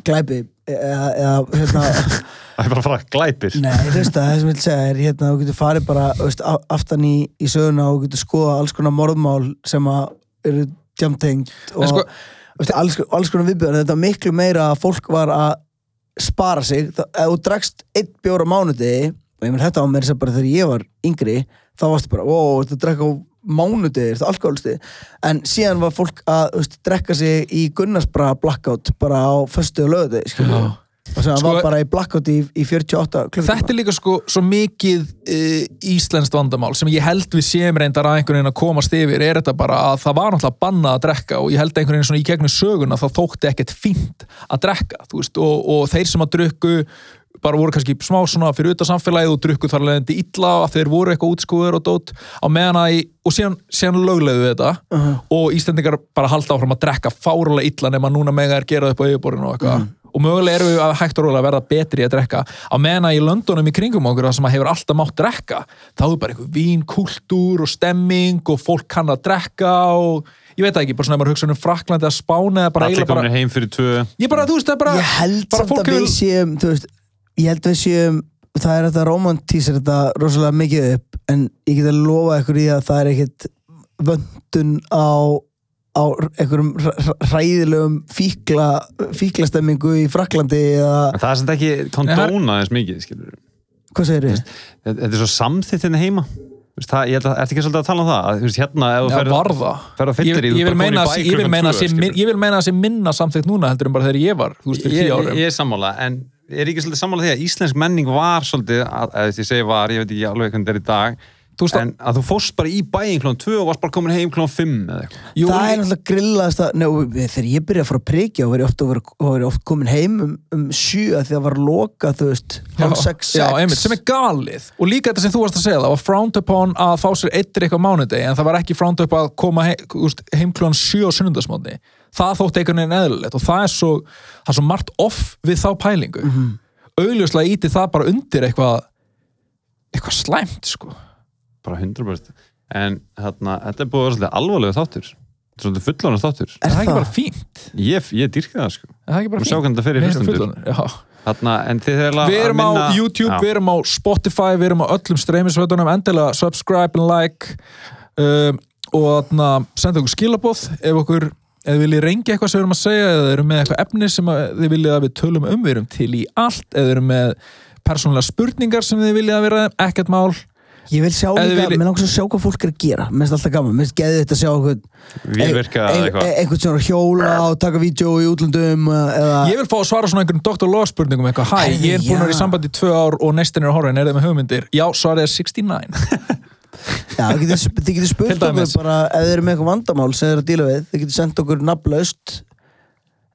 glæpi e- eða, eða hérna,
Það er bara að fara glæpir.
Nei, þú veist að það sem ég vil segja er hérna, þú getur farið bara þú veist, a- aftan í, í söguna og þú getur skoða alls konar morðmál sem að eru tjamtengt og
En sko-
sko, veist, alls, alls konar viðbjörn þetta er miklu meira að fólk var að spara sig, Þa- ef þú drakst eitt bjór á mánudegi, og ég menn þetta á mér sem bara þegar ég var yngri, þá varstu bara ó, þetta drakk á mánudegi þetta alkoholsti, en síðan var fólk að þú veist, drekka sig í Gunnarsbra blackout bara á föstu og lögudegi skiljum og sem
Sko-
var bara í blackout í, í 48 klukkutíma
þetta er líka sko svo mikið e, íslenskt vandamál sem ég held við séum reyndar að einhvern veginn að komast yfir er þetta bara að það var náttúrulega bannað að drekka og ég held einhvern veginn svona í gegnum söguna þá þótti ekkert fínt að drekka þú veist, og, og þeir sem að drukku bara voru kannski smá svona fyrir utan samfélagið og drukku þar leðandi illa að þeir voru eitthvað útskúður og dót á meðan að í, og síðan, síðan lögleðu þetta og Íslendingar bara halda áfram að drekka fárulega illa nema núna mega er gera það upp á yfirborðinu og eitthvað og mögulega eru við að hægt og rólega að verða betri í að drekka á meðan að í löndunum í kringum okkur það sem að hefur alltaf mátt drekka þá er bara einhver vínkultúr og stemming og fólk kann að drekka og ég veit það ekki, bara svona ef maður hugsa um Fraklandi að Spáni eða bara
Allir
eiginlega bara
komin heim fyrir tvö.
ég bara, þú veist, það er bara
ég held
bara
samt að við séum þú veist, ég held að við séum það er þetta romantísir þetta rosalega mikið upp en ég get að lofa ykkur í að það er ekkit vöndun á á einhverjum hræ- hræ- hræðilegum fíkla, fíklastemmingu í Fraklandi eða,
En það er sem ekki kondóna eins mikið, skilur.
hvað segir þið?
Þetta þetta er svo samþýttin heima. Þú veist, Það, ég held að, ertu ekki svolítið að tala um það? Að, Þú veist, hérna, ef þú
Já,
ferð-
varða
ferð á
ég,
fyllir í, þú
ég, vil
bara
meina
komin í
að sé- ég
bæ
vil
klukkan
meina að
tvö,
sé
skilurðu.
min- ég vil meina að sé minna samþykkt núna heldur en bara þegar ég var, þú veist, fyrir
ég,
tíu
ég,
árum
ég er sammála, en ég er ekki svolítið sammála því að íslensk menning var svolítið, að, að, að ég segi var, ég veit ekki alveg hvernig þetta er í dag
Þú veist að-
en að þú fórst bara í bæinn klón 2 og varst bara komin heim klón 5 eða eitthvað
Jú,
það er náttúrulega grillaðast að, nei, og þegar ég byrjaði að fara að prikja og verið oft, og var, og var oft komin heim um, um sjö að því að var loka þú veist, hálf sex,
já,
sex.
einmitt, sem er galið og líka þetta sem þú varst að segja það var frowned upon að fá sér eittir eitthvað mánudegi en það var ekki frowned upon að koma heim, úst, heimklón 7 á sunnundasmóti það þótti einhvern veginn eðlilegt og það er svo, það er svo margt off við þá pælingu mm
Mhm.
-hmm. augljóslega íti það bara undir eitthvað eitthvað slæmt sko
bara 100% en þarna, þetta er búið að vera svolítið alvarlega þáttur svolítið fullanur þáttur
er það ekki
það?
bara fínt?
ég, ég dýrka það sko
Er það ekki bara
og sjá
fínt?
hvernig þetta fer í
Mér finnst það
hlustundur
fullan- já.
þarna, en þið er
Við erum á YouTube, við erum á Spotify, við erum á öllum streymisveitunum, endilega subscribe and like um, og þarna senda okkur skilabóð ef okkur, ef þið viljið reyngja eitthvað sem við erum að segja eða þið erum með eitthvað efni sem að þið viljið að við tölum um, við erum til í allt eða þið erum með persónulega spurningar sem þið viljið að vera ekkert mál
Ég vil sjá
Ef þið
líka,
viljið-
mér langar svo að sjá hvað fólk er að gera Mér finnst alltaf gaman, mér finnst geðið þetta að sjá einhvern
Vélvirka eða eitthvað.
Einhvern sem er að hjóla og taka vídeo í útlöndum uh, eða,
Ég vil fá að svara svona einhverjum Dr. Law spurningum eitthvað, hæ,
Herðu,
ég er búin að vera í
já.
sambandi í tvö ár og næstin er að horfa en er þið með hugmyndir? Já, svarið er 69
já, þið getur, þið getur
Til
spurt
dæmis.
okkur bara ef þið eru með eitthvað vandamál sem þið eru að díla við Þið getur sendt okkur nafnlaust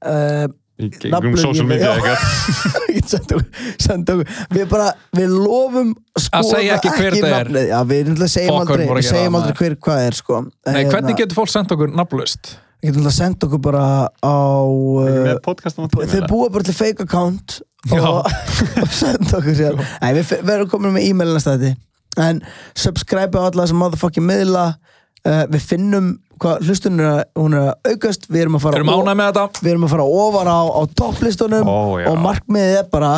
uh,
um
nafnlaust-
social media
Já.
eitthvað
Þið getur sendt okkur, sendt okkur Við bara, við lofum að skoða
segja ekki hver þetta er.
nafnið. Já, við
Fuck,
náttúrulega
við
segjum
erum bara
aldrei,
að gera það,
segjum aldrei
maður.
hver hvað er sko
Nei,
Hérna,
hvernig getur fólk sendt okkur nafnlaust?
Það getur alltaf sendt okkur bara á uh,
með podcastum
Þau búa bara til fake account og, og senda okkur sér Nei, við fe- verðum komin með e-mail næsta þetta En subscribe á alla þessum motherfucking miðla uh, Við finnum hvað hlustunum er að, hún er að aukast Við erum að fara
Erum
o-
ánægð með þetta?
Við erum að fara ofar á, á topplistunum
Ó, já.
Og markmiðið er bara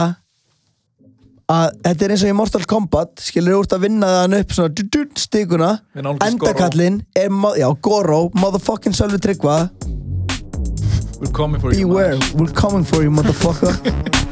að þetta er eins og í Mortal Kombat skilur úr að vinna þann upp svona dú- dú- stíkuna,
Við nálgumst
endakallinn er, mo- já, Goro, motherfucking Sölvi Tryggva
We're coming for you
Beware, we're coming for you, motherfucker